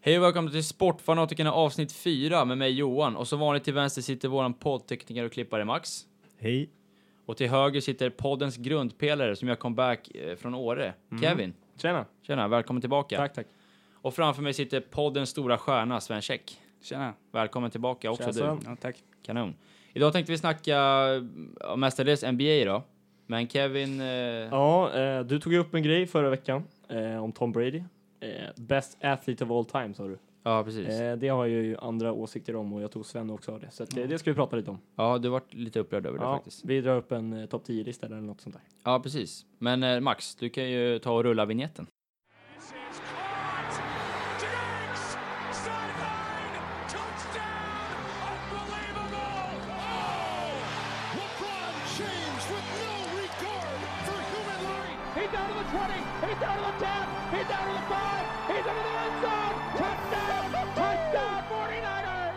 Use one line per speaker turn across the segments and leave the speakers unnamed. Hej och välkomna till Sportfanatikerna avsnitt 4 med mig Johan och som vanligt till vänster sitter våran poddtekniker och klippare Max.
Hej.
Och till höger sitter poddens grundpelare som gör comeback eh, från Åre, Kevin.
Tjena.
Tjena, välkommen tillbaka.
Mm. Tack, tack.
Och framför mig sitter poddens stora stjärna Sven Käck.
Tjena.
Välkommen tillbaka också
Tja,
du.
Sven. Ja, tack.
Kanon. Idag tänkte vi snacka eh, mestadels NBA då. Men Kevin, eh,
Ja, eh, du tog ju upp en grej förra veckan eh, om Tom Brady. Eh, best athlete of all time, sa du.
ja precis.
Eh, det har jag ju andra åsikter om och jag tror Sven också har det. Så att, eh, det ska vi prata lite om.
Ja, du vart lite upprörd över det
Ja,
faktiskt.
vi drar upp en eh, topp 10-lista eller något sånt där.
Ja, precis. Men eh, Max, du kan ju ta och rulla vignetten.
This is caught. Diggs! Sideline! Touchdown! Unbelievable! Oh! LeBron James with no regard for human life!
He's down to the 20. He's down to the 10. He's down to the 5. He's into the end zone. Touchdown. Touchdown 49ers.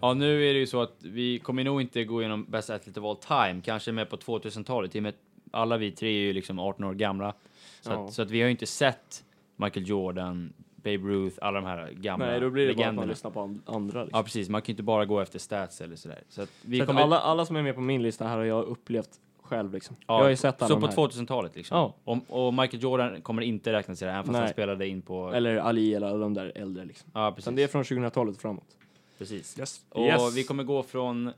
Ja, nu är det ju så att vi kommer nog inte gå igenom Best Athlete of All Time, kanske med på 2000-talet. i och med att Alla vi tre är ju liksom 18 år gamla. Så,
Ja.
att, så att vi har ju inte sett Michael Jordan, Babe Ruth, alla de här gamla
Nej, då blir det bara att man
legenderna.
lyssnar på an- andra. Liksom.
Ja, precis. Man kan ju inte bara gå efter stats eller sådär. Så att vi
Så att
kommer...
alla, alla som är med på min lista här har jag upplevt själv liksom.
ja,
jag har ju sett alla
Så
de
på
här.
2000-talet liksom.
Ja.
Och, och Michael Jordan kommer inte räknas i det här, även fast
Nej.
han spelade in på...
Eller Ali eller alla de där äldre liksom.
Ja, precis.
Utan det är från 2000-talet framåt.
Precis.
Yes.
Och
Yes.
vi kommer gå från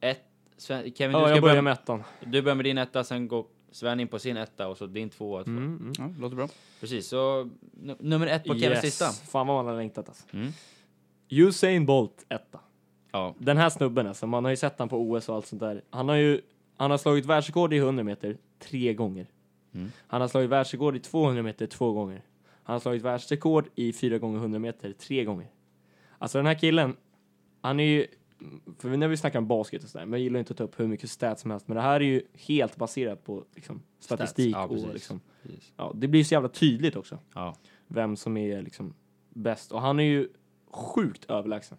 ett... Sven, Kevin, du,
Ja,
ska börja
jag börjar med ettan.
du börjar med din etta, sen går Sven in på sin etta och så din tvåa. två.
Mm, mm.
Ja, låter bra.
Precis, så nu- nummer ett på Kevins lista.
Fan vad man har längtat alltså.
Mm.
Usain Bolt etta.
Ja,
Den här snubben alltså, man har ju sett han på OS och allt sånt där. Han har ju, han har slagit världsrekord i 100 meter tre gånger.
Mm.
Han har slagit världsrekord i 200 meter två gånger. Han har slagit världsrekord i 4 gånger 100 meter tre gånger. Alltså den här killen, han är ju, för när vi snackar om basket och sådär, men jag gillar inte att ta upp hur mycket stats som helst, men det här är ju helt baserat på liksom, statistik
ja, precis.
och liksom,
precis.
ja, det blir så jävla tydligt också
Ja.
vem som är liksom bäst. Och han är ju sjukt överlägsen.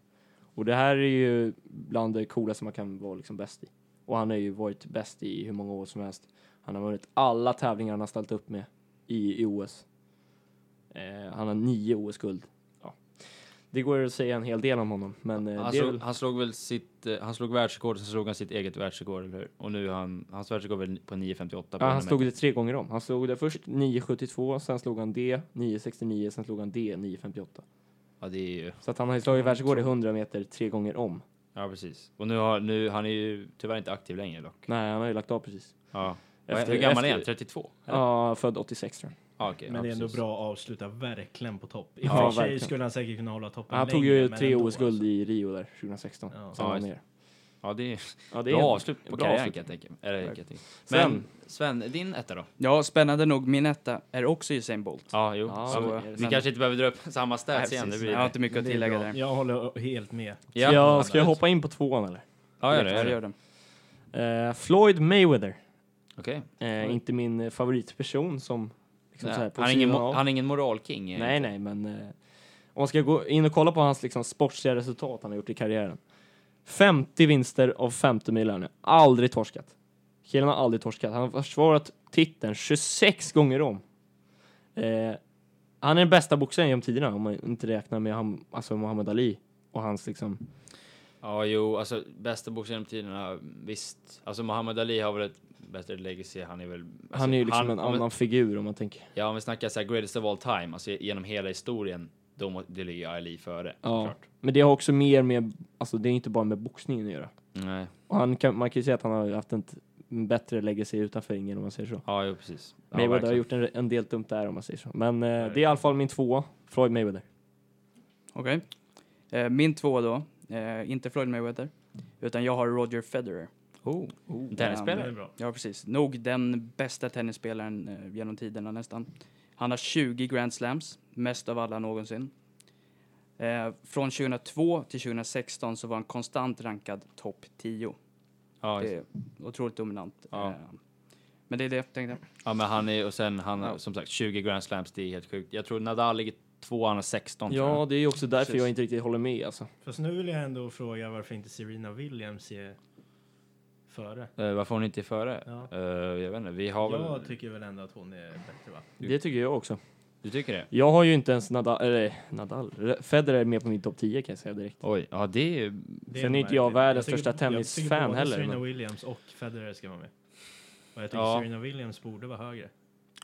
Och det här är ju bland det coolaste man kan vara liksom bäst i. Och han har ju varit bäst i hur många år som helst. Han har vunnit alla tävlingar han har ställt upp med i, i OS. Eh, han har nio OS-guld. Ja. Det går att säga en hel del om honom, men eh,
Han,
det är
slog,
väl...
Alltså, han slog väl sitt... eh, Han slog världsrekord, sen slog han sitt eget världsrekord, eller hur? Och nu är han... Hans världsrekord är väl på 9.58. på
Ja, han
den
slog
mätningen.
det tre gånger om. Han slog det först 9.72, sen slog han det 9.69, sen slog han det 9.58.
Ja, det är ju...
Så att han har ju slagit världsrekord i 100 meter tre gånger om.
Ja, precis. Och nu har... Nu, han är ju tyvärr inte aktiv längre dock.
Nej, han har ju lagt av precis.
Ja.
Efter-
Hur gammal är
efter-
han? 32?
Ja, född 86 tror jag.
Ja, okej.
Men
ja,
det är ändå
precis.
bra att avsluta verkligen på topp. I och
Ja,
för sig
verkligen.
skulle han säkert kunna hålla toppen
Han tog
längre,
ju
men
tre
ändå,
OS-guld
alltså.
i Rio där 2016.
Ja.
Sen
Ja,
var han
just-
ner.
Ja, det är...
Ja, det
Bra avslut på
bra
karriären
avslut.
kan jag tänka mig. Eller, kan jag tänka. mig.
Sven.
Men Sven, din etta då?
Ja, spännande nog, min etta är också Usain Bolt.
Ja, jo.
Ja,
Så,
men-
vi kanske inte behöver dra upp samma stats igen. Det blir...
jag har inte mycket att
Det är
tillägga
bra.
där.
Jag håller helt med.
typ- Ja, ska jag hoppa in på tvåan eller?
Ja, gör det.
jag
Gör det.
gör det.
Eh, Floyd Mayweather.
Okej.
Eh, inte min eh, favoritperson som... Liksom, så här,
Nej,
på
Han är ingen,
sidan
mo-
av.
han är ingen moralking. eh.
Nej, nej, men... Eh, om man ska gå in och kolla på hans liksom, sportsliga resultat han har gjort i karriären. 50 vinster av 50 miljoner. Aldrig torskat. Killen har aldrig torskat. Han har försvarat titeln 26 gånger om. Eh, han är den bästa boxaren genom tiderna om man inte räknar med Ham- alltså Muhammad Ali och hans liksom...
Ja, jo, alltså bästa boxaren genom tiderna, visst. Alltså Muhammad Ali har väl ett bättre legacy. Han är väl... Alltså,
han är ju liksom en
om vi-
annan figur om man tänker.
Ja, om vi snackar så här greatest of all time, alltså genom hela historien, då må- det ligger Ali före.
Ja.
Klart.
Men det har också mer med... Alltså det är inte bara med boxningen att göra.
Nej.
Och han kan, man kan ju säga att han har haft en t- bättre legacy utanför ringen om man säger så.
Ja, jo, precis. Ja,
Mayweather har
verkligen.
gjort en, en del dumt där om man säger så. Men eh, det är i alla fall min tvåa, Floyd Mayweather.
Okej. Eh, min två då, eh, inte Floyd Mayweather, utan jag har Roger Federer.
Oh, en
Det
tennisspelare?
är bra.
Ja, precis. Nog den bästa tennisspelaren eh, genom tiderna nästan. Han har 20 Grand Slams, mest av alla någonsin. Eh, från 2002 till 2016 så var han konstant rankad topp 10.
Ja,
Det är otroligt dominant.
Ja.
Eh, men det är det jag tänkte.
Ja, men han är och sen han har
Ja.
som sagt 20 grand slams. Det är helt sjukt. Jag tror Nadal ligger två, han har 16. tror
Ja,
jag.
det är ju också därför
Precis.
jag inte riktigt håller med alltså.
Fast nu vill jag ändå fråga varför inte Serena Williams är före.
Eh, varför hon inte är före?
Ja.
Eh, jag vet inte. Vi har väl.
typ. Jag tycker väl ändå att hon är bättre va?
Det tycker jag också.
Du tycker det?
Jag har ju inte ens Nadal, eller Nadal, Federer med på min topp 10 kan jag säga direkt.
Oj, ja det är...
Det
Sen är inte jag
märkligt.
världens
tycker-
största tennisfan
jag tycker både
heller,
Serena
men-
Williams och Federer ska vara med. Och jag tycker
Ja.
Serena Williams borde vara högre.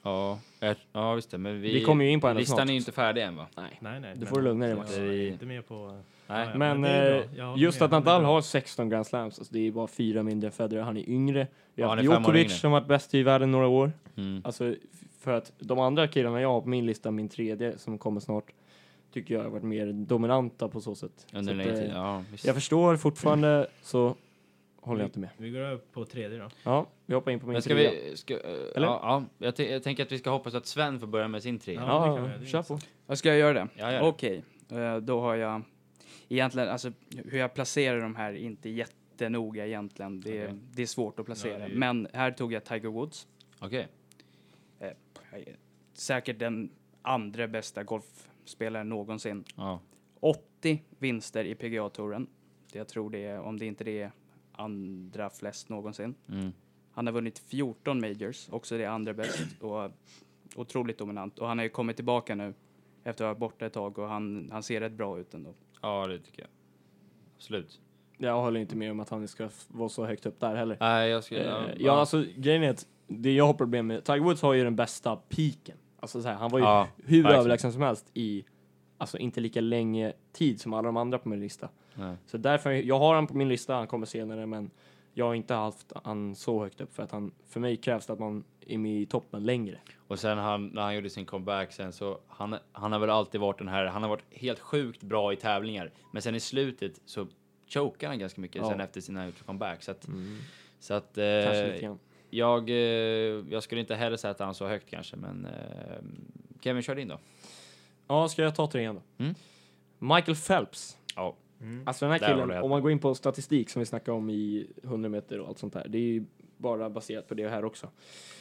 Ja, är, ja visst det. Men vi...
Vi kommer ju in på henne
Listan
snart.
är ju inte färdig än va?
Nej.
Nej, nej.
Du
men-
får lugna dig,
Jag
Max.
är inte med på...
Nej.
Ja,
Men
men det är
eh,
bra. Jag håller
just
med.
att
Han är
Nadal
bra.
har 16 Grand Slams, alltså det är bara fyra mindre än Federer, han är yngre. Vi
Ja,
har
han är
haft
fem år yngre.
Djokovic som varit bäst i världen några år.
Mm.
Alltså f- för att de andra killarna jag har på min lista, min tredje som kommer snart, tycker jag har varit mer dominanta på så sätt.
Under en
så
längre
att,
tid,
eh,
ja visst.
Jag förstår fortfarande, så håller jag inte med.
Vi går över på tredje då.
Ja, vi hoppar in på min
Men ska
tredje.
vi... Ska, eh,
Eller?
Ja, ja. Jag, t- jag tänker att vi ska hoppas att Sven får börja med sin tre.
Ja. det
Ja,
kan vi göra. Det är
kör på.
Ja, Ska jag göra det?
Ja, gör det.
Okej, eh, då har jag egentligen, alltså hur jag placerar de här är inte jättenoga egentligen. Det är,
Okej.
det är svårt att placera.
Ja, det är ju-
Men här tog jag Tiger Woods.
Okej.
Jag är Säkert den andra bästa golfspelaren någonsin.
Ja.
80 vinster i PGA-touren. Jag tror det är, om det inte det är andra flest någonsin.
Mm.
Han har vunnit 14 majors, också det andra bäst och otroligt dominant. Och han har ju kommit tillbaka nu efter att ha varit borta ett tag och han, han ser rätt bra ut ändå.
ja, det tycker jag. Absolut.
Jag håller inte med om att han ska f- vara så högt upp där heller.
Nej, jag ska...
Eh, ja, alltså grejen är att det jag har problem med, Tiger Woods har ju den bästa piken. Alltså så här, han var ju
Ja,
hur
verkligen.
överlägsen som helst i, alltså inte lika länge tid som alla de andra på min lista.
Nej.
Så därför, jag har han på min lista, han kommer senare, men jag har inte haft han så högt upp för att han, för mig krävs det att man är med i toppen längre.
Och sen han, när han gjorde sin comeback sen så, han, han har väl alltid varit den här, han har varit helt sjukt bra i tävlingar. Men sen i slutet så chokar han ganska mycket
Ja.
sen efter sina comeback. Så att, så att
Kanske lite
eh,
grann.
jag, eh, jag skulle inte heller säga att han så högt kanske, men eh, Kevin kör din då.
Ja, ska jag ta tre igen då?
Mm.
Michael Phelps.
Ja.
Alltså
Där
den här
håller
killen,
jag
om man går in på statistik som vi snackade om i 100 meter och allt sånt där, det är ju bara baserat på det här också.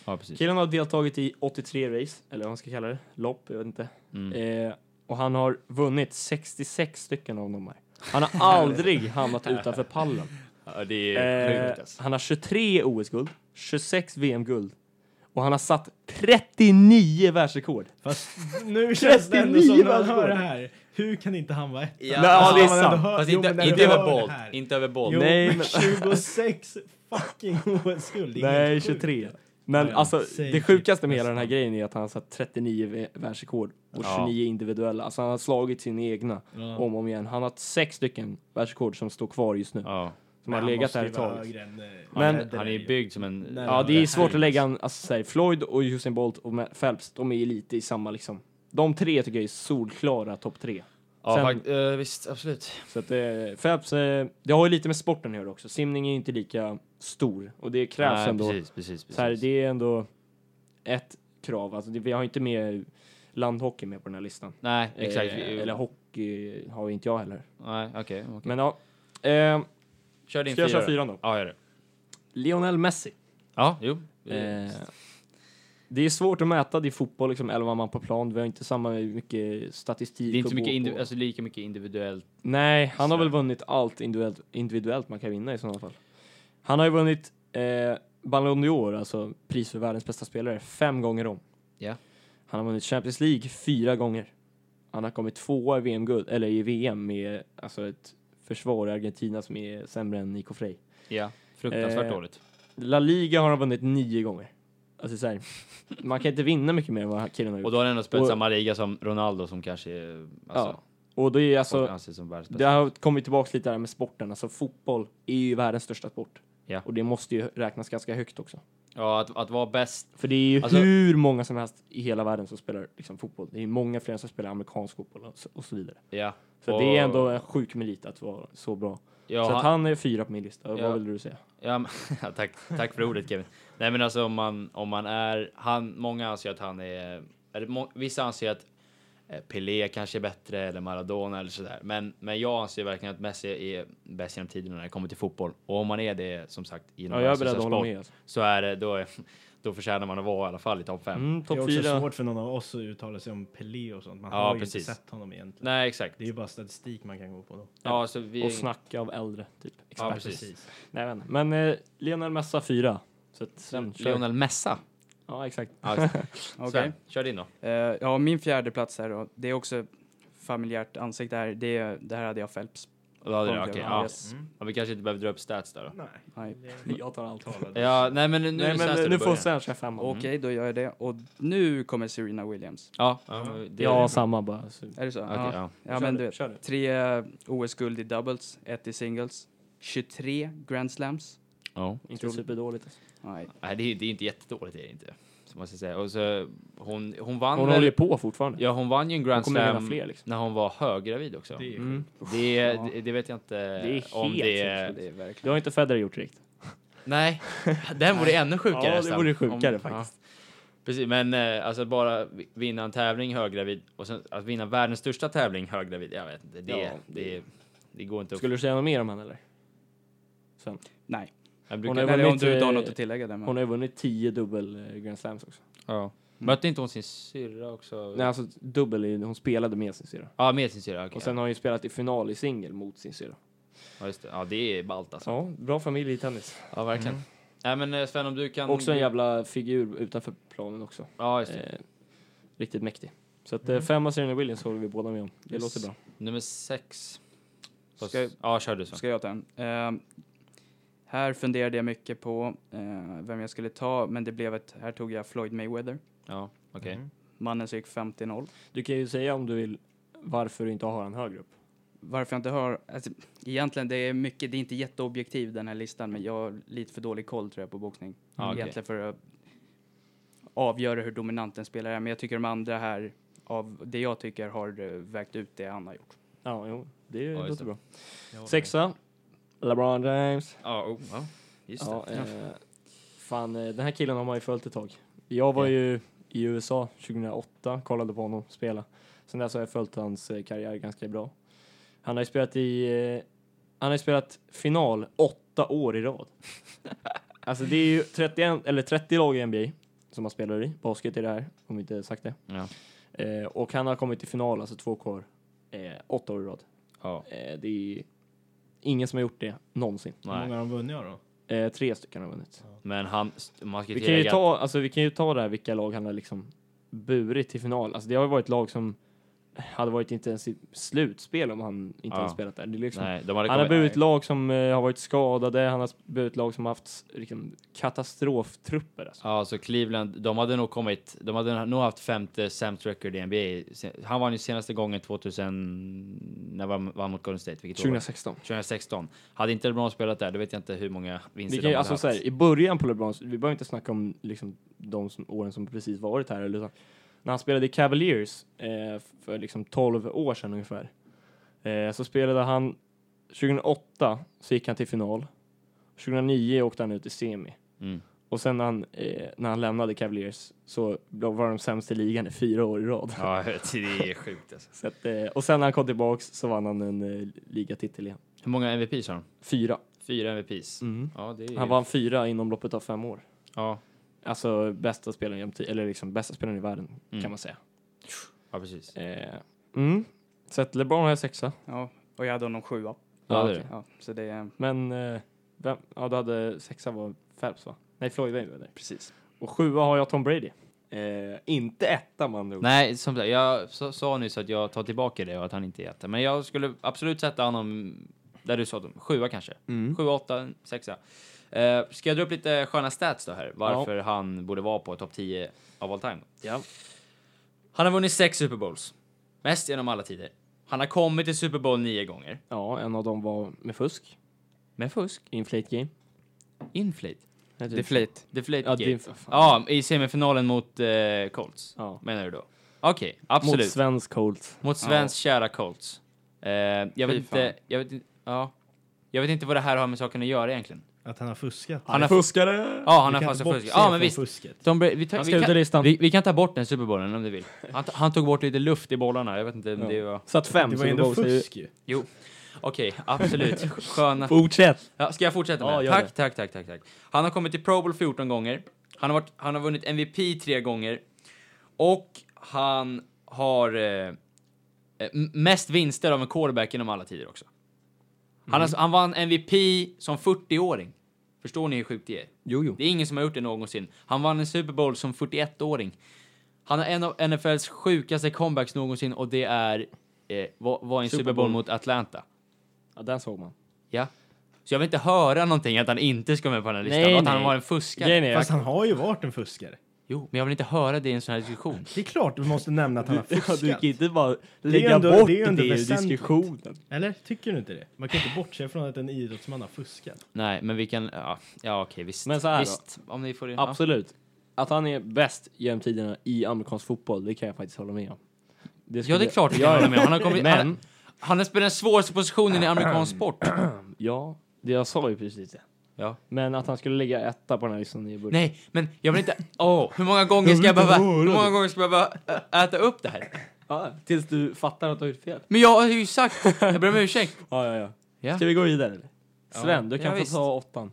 Ja, precis.
Killen har deltagit i 83 race, eller vad man ska kalla det, lopp, jag vet inte.
Mm.
Eh, och han har vunnit 66 stycken av de här. Han har aldrig hamnat utanför pallen.
Ja, det är
Eh,
sjukt alltså.
han har 23 OS-guld, 26 VM-guld och han har satt 39 världsrekord.
Fast nu känns det ändå som
39
när man hör
världsrekord.
det här. Hur kan inte han vara ett?
Ja,
Nej, ja, det är
men ändå
sant.
hör-
Fast
jo,
inte,
men när
inte,
du hör
över
det
bolt,
här.
inte över bolt.
Jo,
Nej,
men
men-
26 fucking OS-guld. det är
Nej,
helt sjukt.
23. Men
Ja, ja.
alltså,
Säg
det sjukaste med
typ
hela den här
nästan.
grejen är att han har satt 39 vä- världsrekord och
Ja.
29 individuella. Alltså han har slagit sina egna
Ja.
om och om igen. Han har haft sex stycken världsrekord som står kvar just nu.
Ja.
Som har
han
legat
måste
där
ju
ett
vara
tag.
högre än, eh,
Men-
Federer.
Han är ju byggd som en...
Nej,
Ja, det är
här
svårt
är-
att lägga en, alltså, så här, Floyd och Usain Bolt och Ma- Phelps, de är ju lite i samma liksom. De tre tycker jag är solklara topp tre.
Ja,
Sen-
fakt- eh, visst, absolut.
Så att eh, Phelps, eh, det har ju lite med sporten att göra också. Simning är ju inte lika stor och det krävs
Nej,
ändå.
Precis, precis, precis.
Så här, det är ändå ett krav. Alltså, det, vi har ju inte med landhockey med på den här listan.
Nej, exakt.
Eh,
Vi-
eller hockey har ju inte jag heller.
Nej, okej. okej.
Men ja. Eh,
Kör din
Mm. ska jag köra
då.
fyran då?
Ja, gör det.
Lionel Messi.
Ja, jo.
Eh, det är svårt att mäta, det är fotboll, liksom 11 man på plan. Vi har inte samma mycket statistik.
det är inte så
att
mycket
gå
indi-
på.
alltså, lika mycket individuellt.
Nej, han har
Sådär.
väl vunnit allt individuellt, individuellt man kan vinna i sådana fall. Han har ju vunnit eh, Ballon d'Or, alltså pris för världens bästa spelare, fem gånger om.
Ja.
Han har vunnit Champions League fyra gånger. Han har kommit tvåa i VM-guld, eller i VM med alltså ett försvar i Argentina som är sämre än Nico Frey.
Ja, fruktansvärt
Eh,
dåligt.
La Liga har han vunnit nio gånger. Alltså så här, man kan inte vinna mycket mer än vad killen har gjort.
Och då har han ändå spelat
och-
samma liga som Ronaldo som kanske är- alltså,
Och det är
folk
alltså,
anser som världens
det
bästa.
har kommit tillbaka lite där med sporten. Alltså fotboll är ju världens största sport.
Ja.
Och det måste ju räknas ganska högt också.
Ja, att, att vara bäst.
För det är ju
Alltså-
hur många som helst i hela världen som spelar liksom, fotboll. Det är ju många fler som spelar amerikansk fotboll och så, och så vidare.
Ja.
Så
Och-
det är ändå en sjuk merit att vara så bra.
Ja,
så att
han-
han är fyra på min lista.
Ja.
Vad vill du säga?
ja, men- ja, tack, tack för ordet Kevin. Nej men alltså om man, om man är, han, många anser att han är, eller må, vissa anser att eh, Pelé kanske är bättre eller Maradona eller sådär. Men, men jag anser verkligen att Messi är bäst genom tiderna när det kommer till fotboll. Och om man är det som sagt
Ja,
inom
jag är
alltså,
beredd
så här
att hålla
sport,
med. Alltså.
så är det, då, är, då förtjänar man att vara i alla fall i topp 5.
Mm,
Det är
topp
också
fyra.
svårt för någon av oss att uttala sig om Pelé och sånt. Man
Ja,
har ju
precis.
inte sett honom egentligen.
Nej, exakt.
Det är ju bara statistik man kan gå på då.
Ja, så vi...
Och snacka av äldre, typ.
ja,
Ja,
precis.
Nej, men, men eh, Lionel Messi fyra. Så att sen kör.
Lionel Messa.
Ja, exakt.
Ja, just det.
Okej.
Sven, kör din då.
Eh, ja, min fjärde plats här då, det är också familjärt ansikte här. Det, är- det här hade jag Phelps.
Och då hade du-
Okej,
okej,
ja,
ja.
yes.
Mm.
Ja, Vi kanske inte behöver dra upp stats där då.
Nej.
Nej.
det
Jag tar allt.
talade.
Ja, nej men nu är
Nej,
det Sven som
men eh, nu
du
får
börjar.
Sven köra femman.
Okej, då gör jag det. Och nu kommer Serena Williams.
Ja, ja, men det är-
Ja, samma bara. Så.
Är det så?
Okej,
ja.
ja.
ja,
Kör
men
du,
du vet.
kör du.
Tre eh, OS-guld i doubles, ett i singles, 23 grand slams.
Ja.
Inte superdåligt. alltså.
Nej.
Nej, det är, det är inte jättedåligt, det är det inte. Som man ska säga. Och så, hon, hon vann...
Hon
väl-
håller ju på fortfarande.
Ja, hon vann ju en
Hon
Grand
kommer vinna
Slam
fler, liksom.
när hon var höggravid också.
Det
Det,
är
Mm.
det,
Ja.
det vet jag inte
är
om
helt
det
Ja,
är...
Det är verkligen.
Det har inte Federer gjort riktigt.
Nej, den vore ännu sjukare.
Ja, det
nästan.
vore sjukare
Om-
faktiskt.
ja. Precis, men eh, alltså bara vi- vinna en tävling höggravid och sen att vinna världens största tävling höggravid, jag vet inte. Det,
Ja,
det, det går inte att...
Skulle du säga något mer om henne eller? Sen.
Nej,
Jag
hon
brukar,
är-
eller om
vunnit,
du inte har
eh,
något att tillägga där. men-
Hon har ju vunnit tio dubbel eh, Grand Slams också.
ja. Mötte inte hon sin syrra också?
Nej, alltså dubbel, är ju- hon spelade med sin syrra.
Ja, med sin syrra. okej.
Och sen har hon ju spelat i final i singel mot sin syrra.
Ja, just det. Ja, det är ballt alltså.
Ja, bra familj i tennis.
Ja, verkligen. Nej, men eh, Sven, om du kan...
Också en jävla figur utanför planen också.
Ja, just det.
Eh, riktigt mäktig. Så att eh, fem av Serena Williams håller vi båda med om. Det
Yes.
låter bra.
Nummer sex.
Ska-
Ja, kör du så.
Ska jag ta en? Ehm, här funderade jag mycket på eh, vem jag skulle ta, men det blev ett... Här tog jag Floyd Mayweather,
Ja, okej.
Mm.
mannen som gick 50-0.
Du kan ju säga om du vill varför du inte har en högre upp.
Varför jag inte har... Alltså, egentligen, det är mycket... Det är inte jätteobjektiv den här listan, men jag har lite för dålig koll tror jag på boxning.
Ja, Ah, okej.
Egentligen för att avgöra hur dominant en spelare är, men jag tycker de andra här, av det jag tycker, har eh, vägt ut det han har gjort.
Ja, jo, det
just
låter
det.
bra.
Ja,
Sexa, LeBron James.
Ja, oh, ja. Just
Ja,
det.
eh, fan, eh, den här killen har man ju följt ett tag. Jag var
Ja.
ju i USA 2008, kollade på honom spela. Sen dess har jag följt hans eh, karriär ganska bra. Han har ju spelat i, eh, han har ju spelat final åtta år i rad. alltså det är ju 31, eller 30 lag i NBA som han spelar i. Basket är det här, om vi inte sagt det.
Ja.
Eh, och han har kommit till final, alltså två kvar, eh, åtta år i rad.
Ja.
Eh, det är ju ingen som har gjort det någonsin.
Hur många
Nej.
har de vunnit då?
Eh, tre stycken har vunnit.
Men han, man ska
Vi kan, ju
tillägga...
ta, alltså, vi kan ju ta där vilka lag han har liksom burit till final. Alltså, det har ju varit lag som hade varit inte ens i slutspel om han inte
Ja.
hade spelat där. Det är liksom,
Nej, de hade
han har
kommit...
burit lag som eh, har varit skadade, han har burit lag som har haft liksom, katastroftrupper. Alltså.
Ja, så Cleveland, de hade nog kommit... De hade nog haft femte sämst record i NBA. Se- Han vann ju senaste gången 2000... När han vann mot Golden State, vilket år var det?
2016.
2016. Hade inte LeBron spelat där, då vet jag inte hur många vinster
Vi kan ju,
de hade
alltså,
haft.
så här, I början på LeBron, vi behöver inte snacka om liksom, de som, åren som precis varit här. Eller så. När han spelade i Cavaliers eh, för liksom 12 år sedan ungefär, eh, så spelade han 2008 så gick han till final. 2009 åkte han ut i semi.
Mm.
Och sen när han, eh, när han lämnade Cavaliers så var de sämst i ligan i fyra år i rad.
Ja, det är sjukt alltså.
Så att, eh, och sen när han kom tillbaks så vann han en eh, ligatitel igen.
Hur många MVPs har de?
Fyra.
Fyra MVPs. Ja, det är...
Han vann fyra inom loppet av fem år.
Ja,
Alltså bästa spelaren jämt, eller liksom bästa spelaren i världen
Mm.
kan man säga.
ja precis.
Eh, mm. Så att LeBron har jag sexa.
Ja, och jag hade honom sjua.
Ja, det är
okej.
det.
Ja, så det är
Men eh, vem, ja, du hade sexa var Phelps va? Nej, Floyd Mayweather.
precis.
Och sjua har jag Tom Brady. Eh, inte etta man andra ord.
Nej, som sagt, jag sa- sa nyss att jag tar tillbaka det och att han inte är etta. Men jag skulle absolut sätta honom där du sa dem. Sjua kanske.
Mm.
Sjua, åtta, sexa. Eh, ska jag dra upp lite sköna stats då här? Varför han borde vara på topp 10 av all time.
Ja.
Han har vunnit sex Super Bowls. Mest genom alla tider. Han har kommit till Super Bowl nio gånger.
ja, en av dem var med fusk.
Med fusk?
Inflate game.
Inflate?
Ja, typ.
Deflate.
Deflate
Ja,
gate.
din,
Ja, i semifinalen mot eh, Colts.
Ja.
Menar du då? Okej, absolut.
Mot svensk Colts.
Mot svensk kära Colts. Eh, jag, vet
Fy fan.
inte, jag, vet, in- ja, jag vet inte vad det här har med saken att göra egentligen.
Att han har fuskat?
Han har
fuskare!
Ja, han
Vi
har
kan
fast
inte
fuskat.
bortse
Ja,
från
men visst.
Fusket.
De, ber- vi, tar,
Han
vi,
ska ut ur
kan,
listan.
vi, vi kan ta bort den superbollen om du vill. Han, t- han tog bort lite luft i bollarna. Jag vet inte om
Ja.
det var...
Så att fem.
Det var
så
ändå
går- så-
fusk ju.
Okej, absolut. Sköna.
Fortsätt!
Ja, ska jag fortsätta
Ja,
med det?
gör
Tack,
det.
tack, tack, tack, tack. Han har kommit till Pro Bowl 14 gånger. Han har, varit, han har vunnit MVP tre gånger. Och han har eh, eh, m- mest vinster av en
Mm.
quarterback genom alla tider också. Han, har- han vann MVP som 40-åring. Förstår ni hur sjukt det är?
Jo, jo.
Det är ingen som har gjort det någonsin. Han vann en Super Bowl som 41-åring. Han är en av NFLs sjukaste comebacks någonsin och det är eh, var, var en Super,
Super
Bowl
Bowl.
mot Atlanta.
Ja, den såg man.
Ja. Så jag vill inte höra någonting att han inte ska vara med på den här listan
Nej,
och att han
nej.
var en fuskare.
Grejen är,
Fast han har ju varit en fuskare.
Jo, men jag vill inte höra det i en sån här diskussion.
Det är klart du måste nämna att han har
du, ja,
fuskat.
du kan inte bara
är
lägga
ändå-
bort
det är
det,
ändå
i
väsentligt.
diskussionen.
Eller? Tycker du inte det? Man kan inte bortse från att en idrottsman har fuskat.
Nej, men vi kan... Ja, ja okej, visst.
Men så här då.
visst, om ni får det. ja.
Absolut. Att han är bäst genom tiderna i amerikansk fotboll, det kan jag faktiskt hålla med om.
Ja, det är
skulle-
klart vi kan hålla med. Han har, kommit, han,
Men,
han har spelat den svåraste positionen i amerikansk sport.
ja, det jag sa ju precis det.
Ja.
Men att han skulle lägga etta på den här listan är början.
Nej, men jag vill inte... Åh, hur många gånger ska jag behöva... Hur många gånger ska jag behöva ä- äta upp det här?
Ja, Ah, tills du fattar att du har gjort fel.
Men jag har ju sagt... Jag ber om ursäkt.
Ja, ja, ja.
Ja.
Ska vi gå vidare eller? Sven, du
Ja,
kan få
visst.
ta åttan.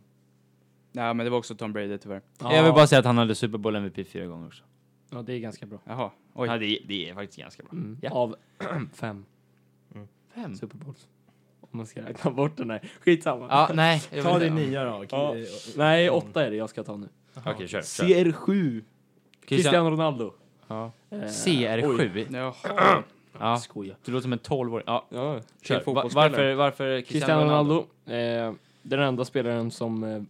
Nej, men det var också Tom Brady tyvärr.
Jag vill bara säga att han hade Super Bowl MVP fyra gånger också.
Ja, det är ganska bra.
Jaha, oj.
Ja, det, det är faktiskt ganska bra. Ja.
Mm. Av fem
Fem?
Super Bowls. Om man ska räkna bort den här. Skitsamma.
Ja, nej. jag
Ta
vill
din
inte-
nya då.
Ja.
Eh,
Nej, åtta är det jag ska ta nu.
Okej, kör. kör.
CR7.
Christian.
Cristiano Ronaldo.
Ja.
Eh,
CR7.
Jaha.
Ja.
Skoja.
Du låter som en 12-åring. Ja,
Ja.
kör.
Till
Va-
fotbollsspelare.
Varför, varför
Cristiano Ronaldo. Eh, den enda spelaren som eh,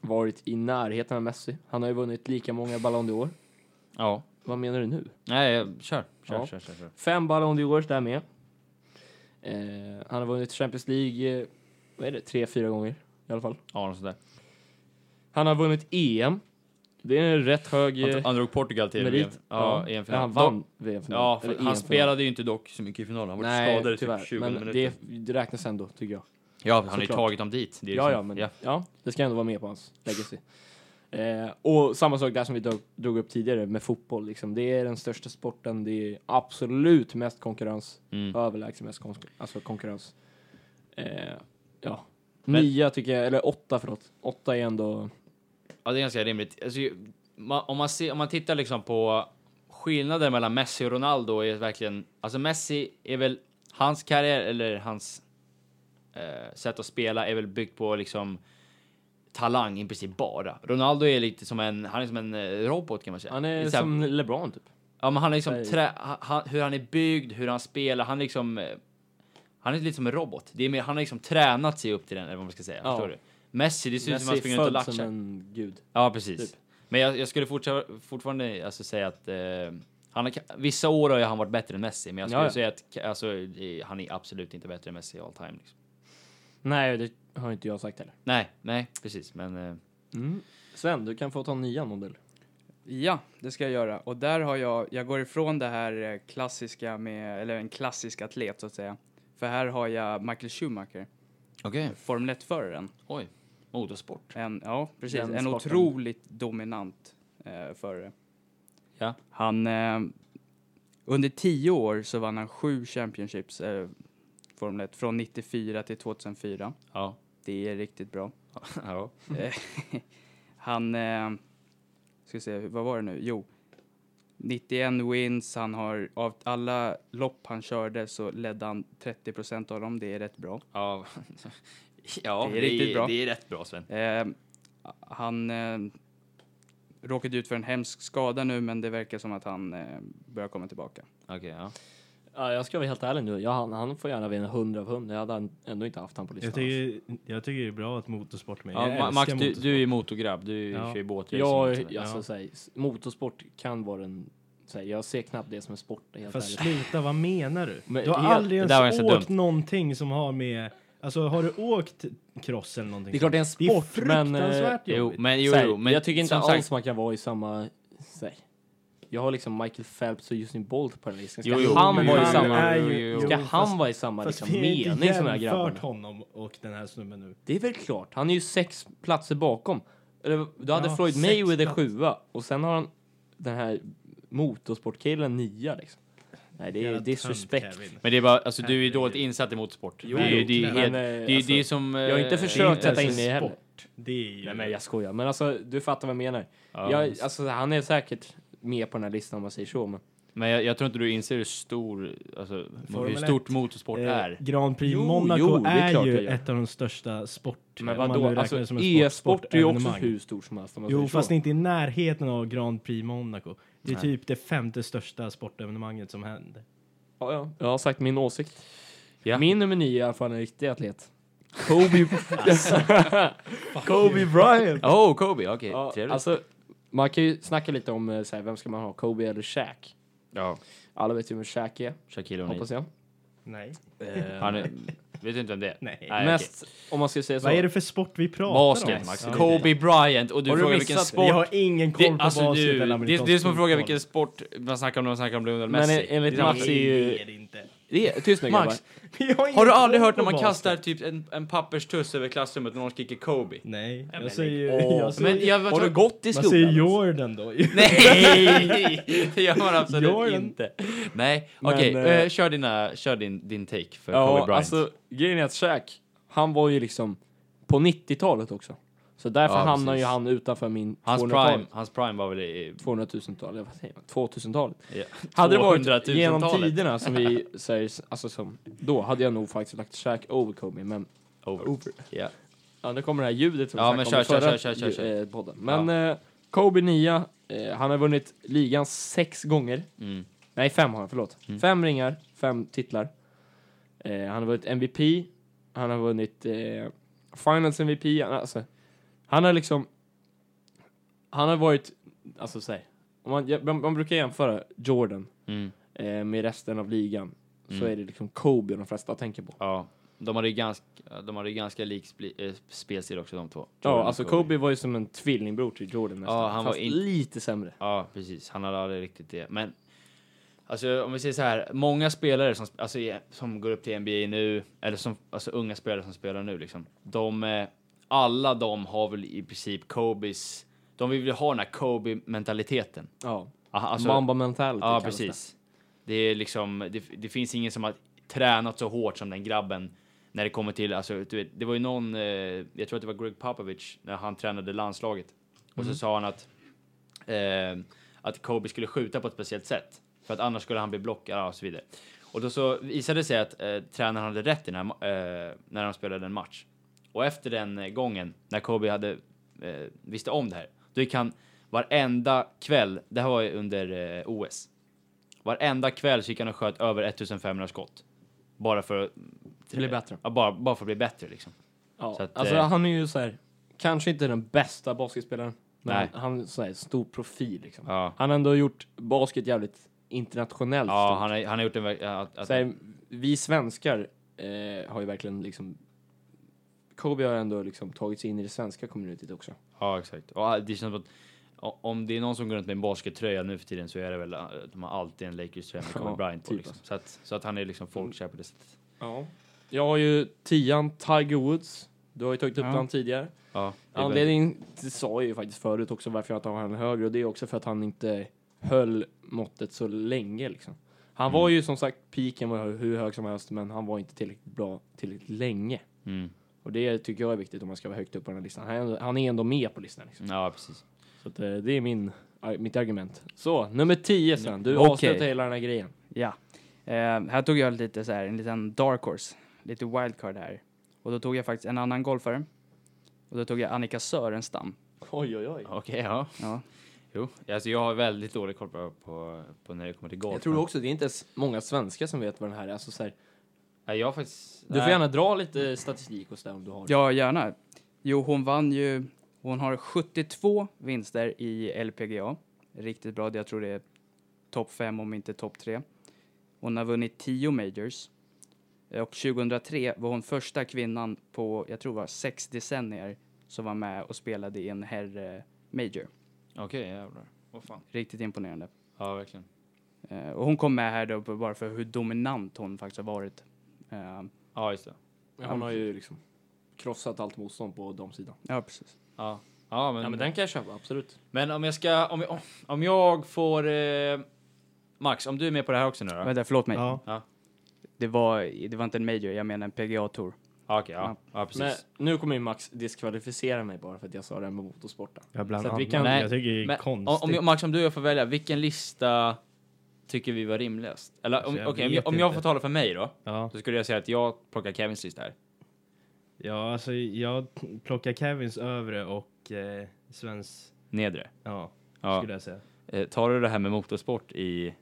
varit i närheten av Messi. Han har ju vunnit lika många Ballon d'Or.
Ja.
Vad menar du nu?
Nej, jag- kör. Kör,
Ja.
kör, kör, kör.
Fem Ballon d'Ors där med. Eh, han har vunnit Champions League, eh, vad är det, tre, fyra gånger i alla fall.
Ja, något sånt där.
Han har vunnit EM. Det är en rätt hög
Han,
eh,
tog- han drog Portugal till
merit.
Ja, i en
Men
final.
han vann VM-final.
Ja,
Eller E
för han
EM-final.
spelade ju inte dock så mycket i finalen. Han var
Nej,
skadad i
tyvärr.
typ 20
men
minuter.
det, det räknas ändå, tycker jag.
ja, han har ju
såklart.
tagit dem dit. Det är
Ja,
liksom-
ja, men ja. det ska ändå vara med på hans legacy. Eh, och samma sak där som vi drog, drog upp tidigare med fotboll. Liksom. Det är den största sporten, det är absolut mest konkurrens,
Mm.
överlägset mest kon- alltså konkurrens. Eh, ja.
Men-
Nia tycker jag, eller åtta förlåt. Åtta är ändå...
Ja, det är ganska rimligt. Alltså, ju- ma- om, man ser, om man tittar liksom på skillnaden mellan Messi och Ronaldo är verkligen... Alltså Messi är väl... Hans karriär, eller hans eh, sätt att spela är väl byggt på liksom talang i princip bara. Ronaldo är lite som en, han är som en eh, robot kan man säga.
Han är
Lite så här-
som LeBron typ.
Ja, men han är liksom
Nej.
trä, han- han, hur han är byggd, hur han spelar, han är liksom... eh, Han är lite som en robot. Det är mer, han har liksom tränat sig upp till den, eller vad man ska säga.
Ja.
Förstår du? Messi, det ser ut som
Messi
han
är
springer ut och
född som
latchar.
en gud.
Ja, precis.
typ.
Men jag, jag skulle fortsätta, fortfarande alltså, säga att... Eh, han har, vissa år har ju han varit bättre än Messi, men jag skulle
Ja, ja.
säga att ka- alltså, eh, han är absolut inte bättre än Messi all time. Liksom.
Nej, det har inte jag sagt heller.
Nej, nej, precis. Men eh,
Sven, du kan få ta nian om du vill.
Ja, det ska jag göra. Och där har jag, jag går ifrån det här eh, klassiska med, eller en klassisk atlet så att säga. För här har jag Michael Schumacher,
okej.
Formel 1-föraren.
Oj. Motorsport.
En, ja, precis.
Den
en
sporten.
otroligt dominant eh, förare.
Ja.
Han, eh, under tio år så vann han sju Championships, eh, Formel 1, från 94 till 2004.
Ja.
Det är riktigt bra. Eh,
ja.
Han, eh, ska vi se, vad var det nu? Jo, 91 wins, han har, av alla lopp han körde så ledde han 30 procent av dem, det är rätt bra.
Ja, ja
Det är riktigt bra.
Det är rätt bra, Sven.
Eh, han eh, råkade ut för en hemsk skada nu, men det verkar som att han eh, börjar komma tillbaka.
Okej, ja.
Ja, jag ska vara helt ärlig nu. Jag, han, han får gärna vinna 100 av 100. Jag hade han- ändå inte haft han på listan. alltså.
Jag tycker, jag tycker det är bra att motorsport är med.
Ja,
Jag
Ma-
älskar
Max, du,
motorsport.
du är ju motorgrabb. Du
Ja.
kör ju båtracing.
Ja,
och sådär.
jag, alltså, så här, s- motorsport kan vara en... Så här, jag ser knappt det som en sport, helt
Fast
ärligt.
sluta, vad menar du?
Men
du har
helt-
aldrig
det där var
ens
ganska
åkt
dumt.
någonting som har med... Alltså har du åkt cross eller någonting?
Det är klart det är en
Det är
sport, men... eh,
fruktansvärt
Jo,
jobbigt.
men jo,
så här,
jo, men
jag tycker inte
som
alls
sagt,
man kan vara i samma... Så här, jag har liksom Michael Phelps och Usain Bolt på den här listan. Ska
Jo, jo,
han
jo,
vara i
jo,
samma...
jo, jo, jo.
Ska
Fast-
han vara i samma liksom,
vi har
mening
inte
som de här
jämfört
grabbarna?
honom och den här snubben nu.
Det är väl klart. Han är ju sex platser bakom. Eller, Då hade
Ja,
Floyd
sex
Mayweather
plats-
sjua och sen har han den här motorsportkillen nia liksom. Nej, det är
Jävla
disrespekt.
tönt, Kevin.
Men det är bara, alltså du är ju
Herregud.
dåligt insatt i motorsport.
Jo,
det är ju det är
verkligen.
helt, det
Men,
är,
eh,
det är
alltså,
ju som...
jag har inte
eh,
Det är
försökt
inte
sätta in
ens
det
en
heller.
sport. Det är ju...
Nej, men jag skojar. Men alltså, du fattar vad jag menar.
Ja.
Jag, alltså, han är säkert med på den här listan om man säger så, men
Men jag, jag tror inte du inser hur stor, alltså, hur
Formel
stort
1.
motorsport
Eh,
är.
Eh, Grand Prix
Jo,
Monaco
jo, det är
är
klart
ju
jag gör.
ett av de största sport...
Men
om man nu
vadå,
räknar
alltså
det som en sport-
e-sport är ju också
sportevenemang.
hur stor som helst. Om man
Jo,
säger så.
fast inte i närheten av Grand Prix Monaco. Det är
Nej.
typ det femte största sportevenemanget som händer.
Ja, ja. Jag har sagt min åsikt.
Ja.
Min nummer nio är i alla fall en riktig atlet. Kobe... Kobe Bryant!
Oh, Kobe, okej.
Ja,
Trevligt.
alltså, man kan ju snacka lite om eh, så här, vem ska man ha, Kobe eller Shaq?
ja,
Alla vet ju vem Shaq är,
Shaquille
hoppas
O'Neal.
jag.
Nej.
Han är, vet du inte vem det är?
Nej.
Mest, om man ska säga så.
Vad är det för sport vi pratar om?
Basket, Max.
Ja.
Kobe Bryant och du
Har du
frågar
missat
vilken
det?
sport...
Jag har ingen koll
Det,
på
alltså,
basket
du,
eller
det,
amerikansk
det är som att fråga
fotboll.
vilken sport man snackar om när man snackar om Lionel
Men
Messi.
en- enligt
Det är samma
Mats
sak.
är ju-
Det är inte.
det är, Eh, tyst nu grabbar.
Max,
Jag ingen
har du aldrig
koll
hört när
på
man
basket.
kastar typ en, en papperstuss över klassrummet när någon skriker Kobe?
Nej, jag säger ju...
åh,
jag säger-
Men jag var
alltså, Har du gått i
Man säger
skolan?
Jordan då.
Nej! Det gör man absolut
Gör den?
inte. Nej,
Men,
okej,
eh,
eh, kör, dina, kör din, din take för Kobe
Ja,
Bryant.
alltså grejen är att Shaq, han var ju liksom på 90-talet också. Så därför
Ja,
hamnar ju
precis.
han utanför min
hans,
200-talet.
prime, hans prime var väl i... i
200 000-tal, eller vad säger man? 2000-talet.
ja,
Hade det varit
200 000-talet.
genom tiderna som vi säger, alltså som, då hade jag nog faktiskt lagt Shaq over Kobe, men
Over. Ja.
Ja, nu kommer det här ljudet som
Ja,
vi
men
snackade
kör,
om i
kör,
förra
kör, kör, kör, kör.
eh, podden. Men eh, Kobe 9, eh, han har vunnit ligan sex gånger.
Mm.
Nej, fem har han, förlåt. Fem ringar, fem titlar. Eh, han har vunnit MVP, han har vunnit eh, Finals MVP. Han, alltså, han har liksom... Han har varit... Alltså, säg. Om man, ja, man, man brukar jämföra Jordan
Mm.
eh, med resten av ligan. Så är det liksom Kobe de flesta tänker på.
Ja, de hade ju ganska, de hade ju ganska lik spli- eh, spelstil också de två.
ja,
Jordan
alltså
och
Kobe. var ju som en tvillingbror till Jordan nästan.
Ja, han var
fast
in-
lite sämre.
Ja, precis. Han hade aldrig riktigt det. Men alltså, om vi säger så här, många spelare som, sp- alltså, i- som går upp till NBA nu, eller som, alltså unga spelare som spelar nu, liksom, de, eh, alla de har väl i princip Kobes, de vill ju ha den här Kobe-mentaliteten.
Ja.
Aha, alltså-
Mamba mentality
Ja,
kallas
precis. Det är liksom, det, det finns ingen som har tränat så hårt som den grabben när det kommer till, alltså, du vet, det var ju någon, eh, jag tror att det var Greg Popovich, när han tränade landslaget. Och så sa han att, eh, att Kobe skulle skjuta på ett speciellt sätt, för att annars skulle han bli blockad och så vidare. Och då så visade det sig att eh, tränaren hade rätt i den här, ma- eh, när de spelade en match. Och efter den eh, gången, när Kobe hade, eh, visste om det här, då gick han varenda kväll, det här var ju under eh, OS, varenda kväll så gick han och sköt över 1500 skott. Bara för att...
Bli bättre.
Ja, bara, bara för att bli bättre liksom.
Ja.
Så att,
alltså
eh,
han är ju så här, kanske inte den bästa basketspelaren, men
Nej.
han, han är så här, stor profil liksom.
Ja,
Han har ändå gjort basket jävligt internationellt.
ja
stort.
han, har, han har gjort en... ver- Att, att,
så här, vi svenskar eh, har ju verkligen liksom Kobe har ändå liksom tagit sig in i det svenska communityt också.
Ja, exakt. Och det känns som att o- om det är någon som går runt med en baskettröja nu för tiden så är det väl eh, de har alltid en Lakers-tröja med Kobe
Ja,
Bryant på.
typ
Liksom. Så, att, så att han är liksom folkkär på det sättet.
Ja. Jag har ju tian Tiger Woods. Du har ju tagit upp
Ja.
den tidigare.
Ja, det är väl-
Anledningen till- sa jag ju faktiskt förut också varför jag inte har han högre och det är också för att han inte höll måttet så länge liksom. Han var ju som sagt, piken var hur hög som helst men han var inte tillräckligt bra tillräckligt länge.
Mm.
Och det tycker jag är viktigt om man ska vara högt upp på den här listan. Han är ändå, han är ändå med på listan liksom.
Ja, precis.
Så att, eh, det är min, ar- mitt argument. Så, nummer 10 sen. Du
Okej.
avslutar hela den här grejen.
Ja. Eh, här tog jag lite så här, en liten dark horse, lite wildcard här. Och då tog jag faktiskt en annan golfare. Och då tog jag Annika Sörenstam.
Oj, oj, oj.
Okej, ja.
Ja.
Jo, alltså jag har väldigt dålig koll på, på, på när det kommer till golf.
Jag tror
men-
också det är inte ens många svenskar som vet vad den här är. Alltså, så här,
Nej, jag har faktiskt...
du får
nej.
gärna dra lite statistik och sådär om du har det.
Ja, gärna. Jo, hon vann ju... Hon har 72 vinster i LPGA. Riktigt bra. Jag tror det är topp 5, om inte topp 3. Hon har vunnit 10 majors. Och 2003 var hon första kvinnan på, jag tror det var sex decennier som var med och spelade i en herre major.
Okej, jävlar. Vad fan.
Riktigt imponerande.
Ja, verkligen.
Eh, och hon kom med här då bara för hur dominant hon faktiskt har varit. Eh,
Ja, just det.
Han har ju liksom krossat allt motstånd på de sidan.
ja, precis.
Ja. Ja, men,
Ja, men den kan jag köpa, absolut.
Men om jag ska... Om jag, om jag får... Eh, Max, om du är med på det här också nu då?
Vänta, förlåt mig.
Ja.
Det, var, det var inte en major, jag menar en PGA-tour.
Ja, Okej, ja. Ja, precis.
Men nu kommer ju Max diskvalificera mig bara för att jag sa det här med motorsporten.
Ja, bland
Så att vi
annat.
kan-
jag tycker det är
Men,
konstigt.
om, om, Max, om du och jag får välja, vilken lista tycker vi var rimligast? Eller om,
Alltså, jag
okej, om,
vet
jag- om jag
inte.
får tala för mig då,
Ja.
så skulle jag säga att jag plockar Kevins lista här.
ja, alltså jag plockar Kevins övre och eh, Svens...
Nedre.
Ja,
Ja.
skulle jag säga.
Eh, tar du det här med motorsport i,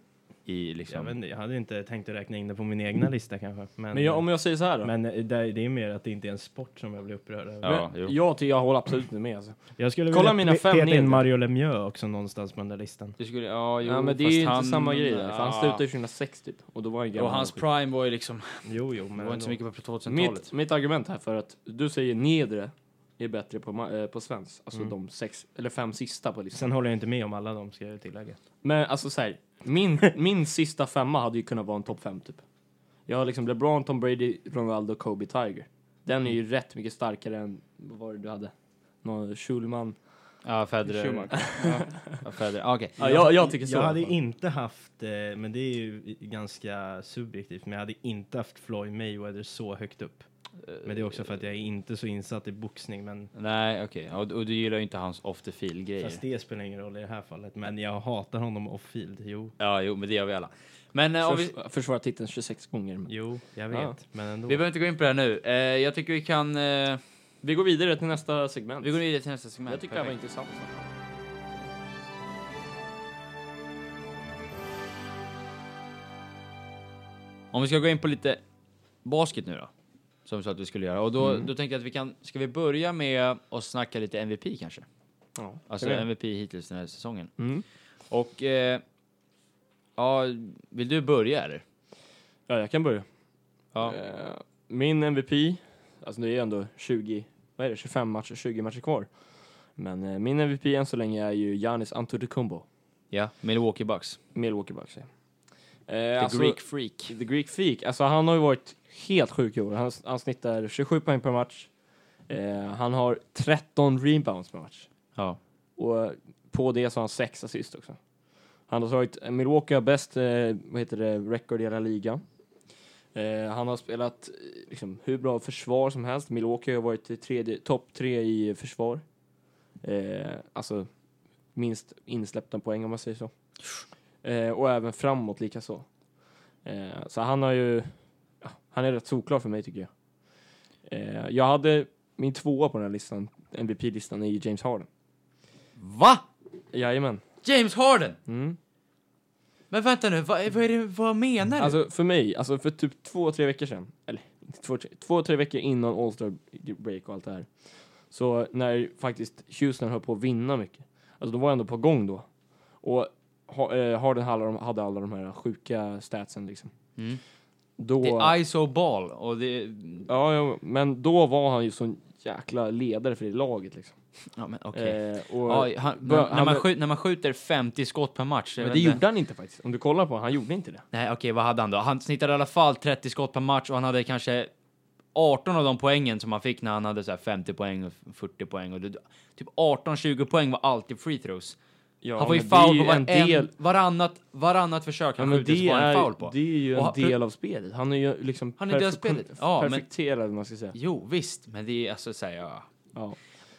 i
Jag,
liksom...
vet, inte, jag hade inte tänkt att räkna in det på min egna lista kanske. Men,
Mm.
eh,
Men jag, om jag säger så här då.
men det, det är mer att det inte är en sport som jag blir upprörd över.
Ja,
Men
jo.
jag, ty- jag håller absolut inte med alltså.
Jag skulle
Kolla
vilja
mina fem
peta
nedre.
in Mario Lemieux också någonstans på den där listan.
Du skulle, ja, jo,
ja, men det är
fast
ju inte
han-
samma grej där, för han
ja.
slutade ju 2006 typ. Och då var han ju gammal.
Och hans prime var ju liksom,
Jo, jo, men
det var inte så
ändå.
mycket på 2000-talet.
mitt, mitt argument här för att du säger nedre är bättre på, ma- eh, på svensk. Alltså de sex, eller fem sista på listan.
Sen håller jag inte med om alla de, ska jag tillägga.
Men alltså så här, min, min sista femma hade ju kunnat vara en topp fem typ. Jag har liksom LeBron, Tom Brady, Ronaldo, Kobe, Tiger. Den är ju rätt mycket starkare än, vad var det du hade? Någon Schulman.
Ja, Federer.
Schumacher.
Ja, Federer. Ah, okej.
Ja, jag, jag tycker så.
Jag
i alla
hade
fall.
inte haft, eh, men det är ju i- ganska subjektivt, men jag hade inte haft Floyd Mayweather så högt upp.
Eh,
Men det är också för att jag är inte så insatt i boxning, men
Nej, okej. Och, och du gillar ju inte hans off the field-grejer.
fast det spelar ingen roll i det här fallet. Men jag hatar honom off-field, jo.
Ja, jo, men det gör vi alla. Men eh, om vi,
Förs- Försvara titeln 26 gånger. men-
Jo, jag vet,
Ja.
men ändå.
vi behöver inte gå in på det här nu. Eh, jag tycker vi kan... Eh,
Vi går vidare till nästa segment.
vi går vidare till nästa segment.
Jag tycker det här var
Perfekt.
intressant.
Om vi ska gå in på lite basket nu då. Som vi sa att vi skulle göra. Och då, då tänkte jag att vi kan... Ska vi börja med att snacka lite MVP kanske?
Ja,
Alltså
kan vi göra.
MVP hittills den här säsongen.
Mm.
Och... Eh, ja, vill du börja eller?
ja, jag kan börja.
Ja.
Eh, Min MVP, alltså det är ju ändå 20, vad är det, 25 matcher, 20 matcher kvar. Men eh, min MVP än så länge är ju Giannis Antetokounmpo,
Ja, Milwaukee Bucks.
Milwaukee Bucks. ja. Eh,
The
alltså-
Greek Freak.
The Greek Freak, alltså han har ju varit helt sjuk i år. Han, han snittar 27 poäng per match. Eh, han har 13 rebounds per match.
Ja.
Och på det så har han sex assist också. Han har tagit, Milwaukee har bäst, eh, vad heter det, record i hela ligan. Eh, han har spelat eh, liksom, hur bra försvar som helst. Milwaukee har varit i tredje- topp tre i försvar. Eh, alltså minst insläppta poäng om man säger så. Eh, och även framåt likaså. Eh, så han har ju, ja, han är rätt solklar för mig tycker jag. Eh, jag hade min tvåa på den här listan, MVP-listan, är ju James Harden.
Va?
Jajamän.
James Harden?
Mm.
Men vänta nu, vad, vad, är det, vad menar du?
Alltså för mig, alltså för typ två, tre veckor sedan, eller inte två, tre, två, tre veckor innan All-Star break och allt det här, så när faktiskt Houston höll på att vinna mycket, alltså de var ändå på gång då. Och ha, eh, Harden hade alla, de, hade alla de här sjuka statsen liksom.
Mm.
Då,
det är ISO ball och det...
ja, ja, men då var han ju sån jäkla ledare för det laget liksom.
Ja, men okej.
Eh, och,
Ja, han,
bör-
när, när,
han-
man skjuter, när man skjuter 50 skott per match. jag
men
vet
det
inte.
gjorde han inte faktiskt. Om du kollar på honom, han gjorde inte det.
Nej, okej, vad hade han då? Han snittade i alla fall 30 skott per match och han hade kanske 18 av de poängen som han fick när han hade så här 50 poäng och 40 poäng. Och det, typ 18-20 poäng var alltid free throws.
Ja,
han får ju
men det är
foul på
ju en
varann-
del-
varannat, varannat försök
Ja,
han
men
skjuter så
det,
var det en foul
är,
på.
det är ju en
Och han-
del av spelet. Han är ju liksom
Han är en del av
perfek-
spelet. Ja, men-
perfekterad, om man ska säga.
Jo, visst, men det är alltså såhär, ja...
Ja.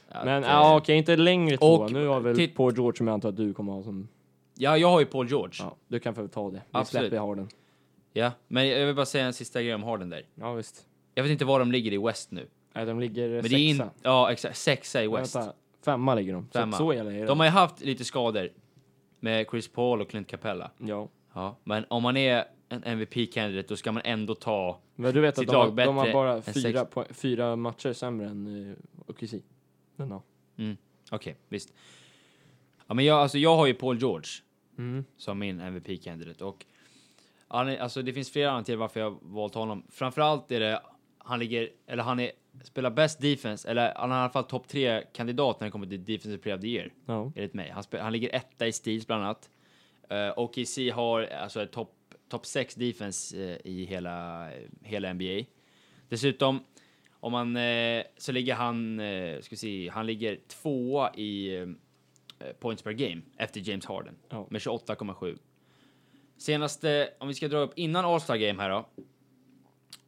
att,
Men
eh,
ja, okej, inte längre två.
och
Nu har väl
titt-
Paul George, som jag antar att du kommer ha som...
ja, jag har ju Paul George.
Ja, du kan få ta det. Vi
Absolut.
släpper Harden.
Ja, men jag vill bara säga en sista grej om Harden där.
Ja, visst.
Jag vet inte var de ligger i West nu.
Nej, de ligger
Men
sexa.
det är in, ja, exakt, sexa i West.
Vänta, femma ligger de.
Femma.
Så, så jävla är det.
De har ju haft lite skador med Chris Paul och Clint Capella.
Ja.
Ja, men om man är en MVP-candidate då ska man ändå ta...
Men du vet
Sitt
att de, har-
lag
de har
bättre
bara
än
fyra, po- fyra matcher sämre än uh, OKC. Men ja.
Mm, Okej, visst. Ja, men jag, alltså, jag har ju Paul George
Mm.
som min MVP-candidate och han är, alltså, det finns flera anledningar till varför jag valt honom. Framförallt är det han ligger, eller han är, spelar bäst defense, eller han är i alla fall topp tre kandidat när det kommer till defensive player of the year.
Ja.
enligt mig. Han, spe- han ligger etta i steals bland annat. Eh, och KC har alltså ett topp top 6 defense eh, i hela, hela NBA. Dessutom, om man, eh, så ligger han, eh, ska vi se, han ligger tvåa i eh, points per game efter James Harden
Ja.
med 28,7. Senaste, om vi ska dra upp innan All-Star Game här då,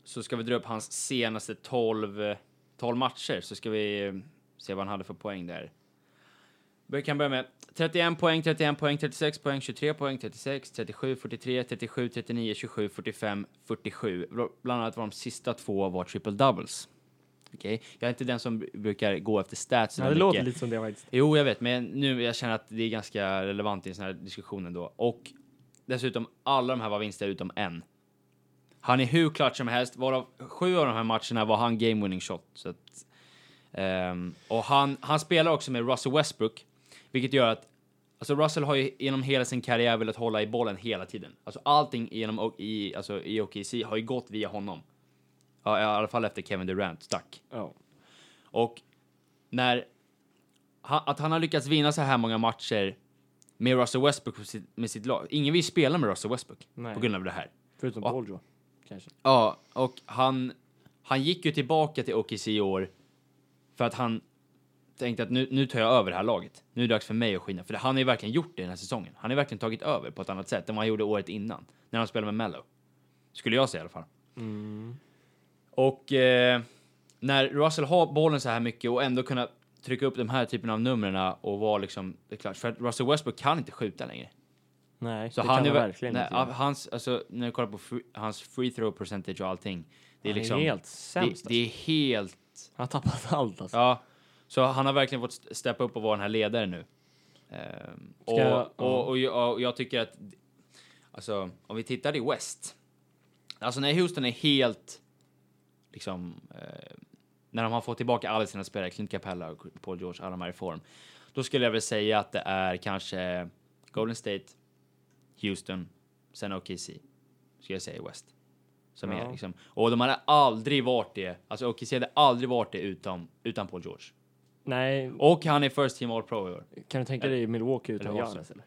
så ska vi dra upp hans senaste 12, eh, 12 matcher så ska vi eh, se vad han hade för poäng där. Vi kan börja med 31 poäng, 31 poäng, 36 poäng, 23 poäng, 36, 37, 43, 37, 39, 27, 45, 47. Bl- Bland annat var de sista två var triple doubles. Okej, jag är inte den som brukar gå efter stats. så
Ja, det
mycket.
låter lite som det faktiskt.
Jo, jag vet, men nu jag känner att det är ganska relevant i den här diskussionen då. Och dessutom, alla de här var vinster utom en. Han är hur klart som helst, varav sju av de här matcherna var han game winning shot. Så att, ehm, och han, han spelar också med Russell Westbrook, vilket gör att Alltså Russell har ju genom hela sin karriär velat hålla i bollen hela tiden. Alltså allting genom O- i, alltså i OKC har ju gått via honom. Ja, I alla fall efter Kevin Durant stack.
Ja.
Och när ha- att han har lyckats vinna så här många matcher med Russell Westbrook på sitt, med sitt lag. Ingen vill spela med Russell Westbrook
Nej.
på grund av det här.
Förutom
Ja.
Paul George, kanske.
Ja, och han, han gick ju tillbaka till OKC i år för att han tänkte att nu, nu tar jag över det här laget. Nu är det dags för mig att skina. För han har ju verkligen gjort det den här säsongen. Han har verkligen tagit över på ett annat sätt än vad han gjorde året innan. När han spelade med Mello. Skulle jag säga i alla fall. Och eh, när Russell har bollen så här mycket och ändå kunna trycka upp de här typen av numren och vara liksom... Det är klart, för att Russell Westbrook kan inte skjuta längre.
Nej,
Så
det
han
kan
är
man
ver-
verkligen
nej,
inte. göra.
av hans, alltså, när du kollar på free, hans free throw percentage och allting. Det är
han
liksom,
är helt
det,
sämst.
det är helt,
alltså. Han har tappat allt alltså.
ja. Så han har verkligen fått st- steppa upp och vara den här ledaren nu. Ehm, och,
jag-
och, och, jag- och jag tycker att, alltså om vi tittar i West. Alltså när Houston är helt, liksom, eh, när de har fått tillbaka alla sina spelare, Clint Capella och Paul George, alla de här i form. Då skulle jag väl säga att det är kanske Golden State, Houston, sen OKC. Skulle jag säga i West. Som är liksom. Och de hade aldrig varit det. Alltså OKC hade aldrig varit det utan, utan Paul George.
Nej,
Och han är first team all pro i år.
kan du tänka dig Milwaukee utan
Eller Hawks.
Giannis eller?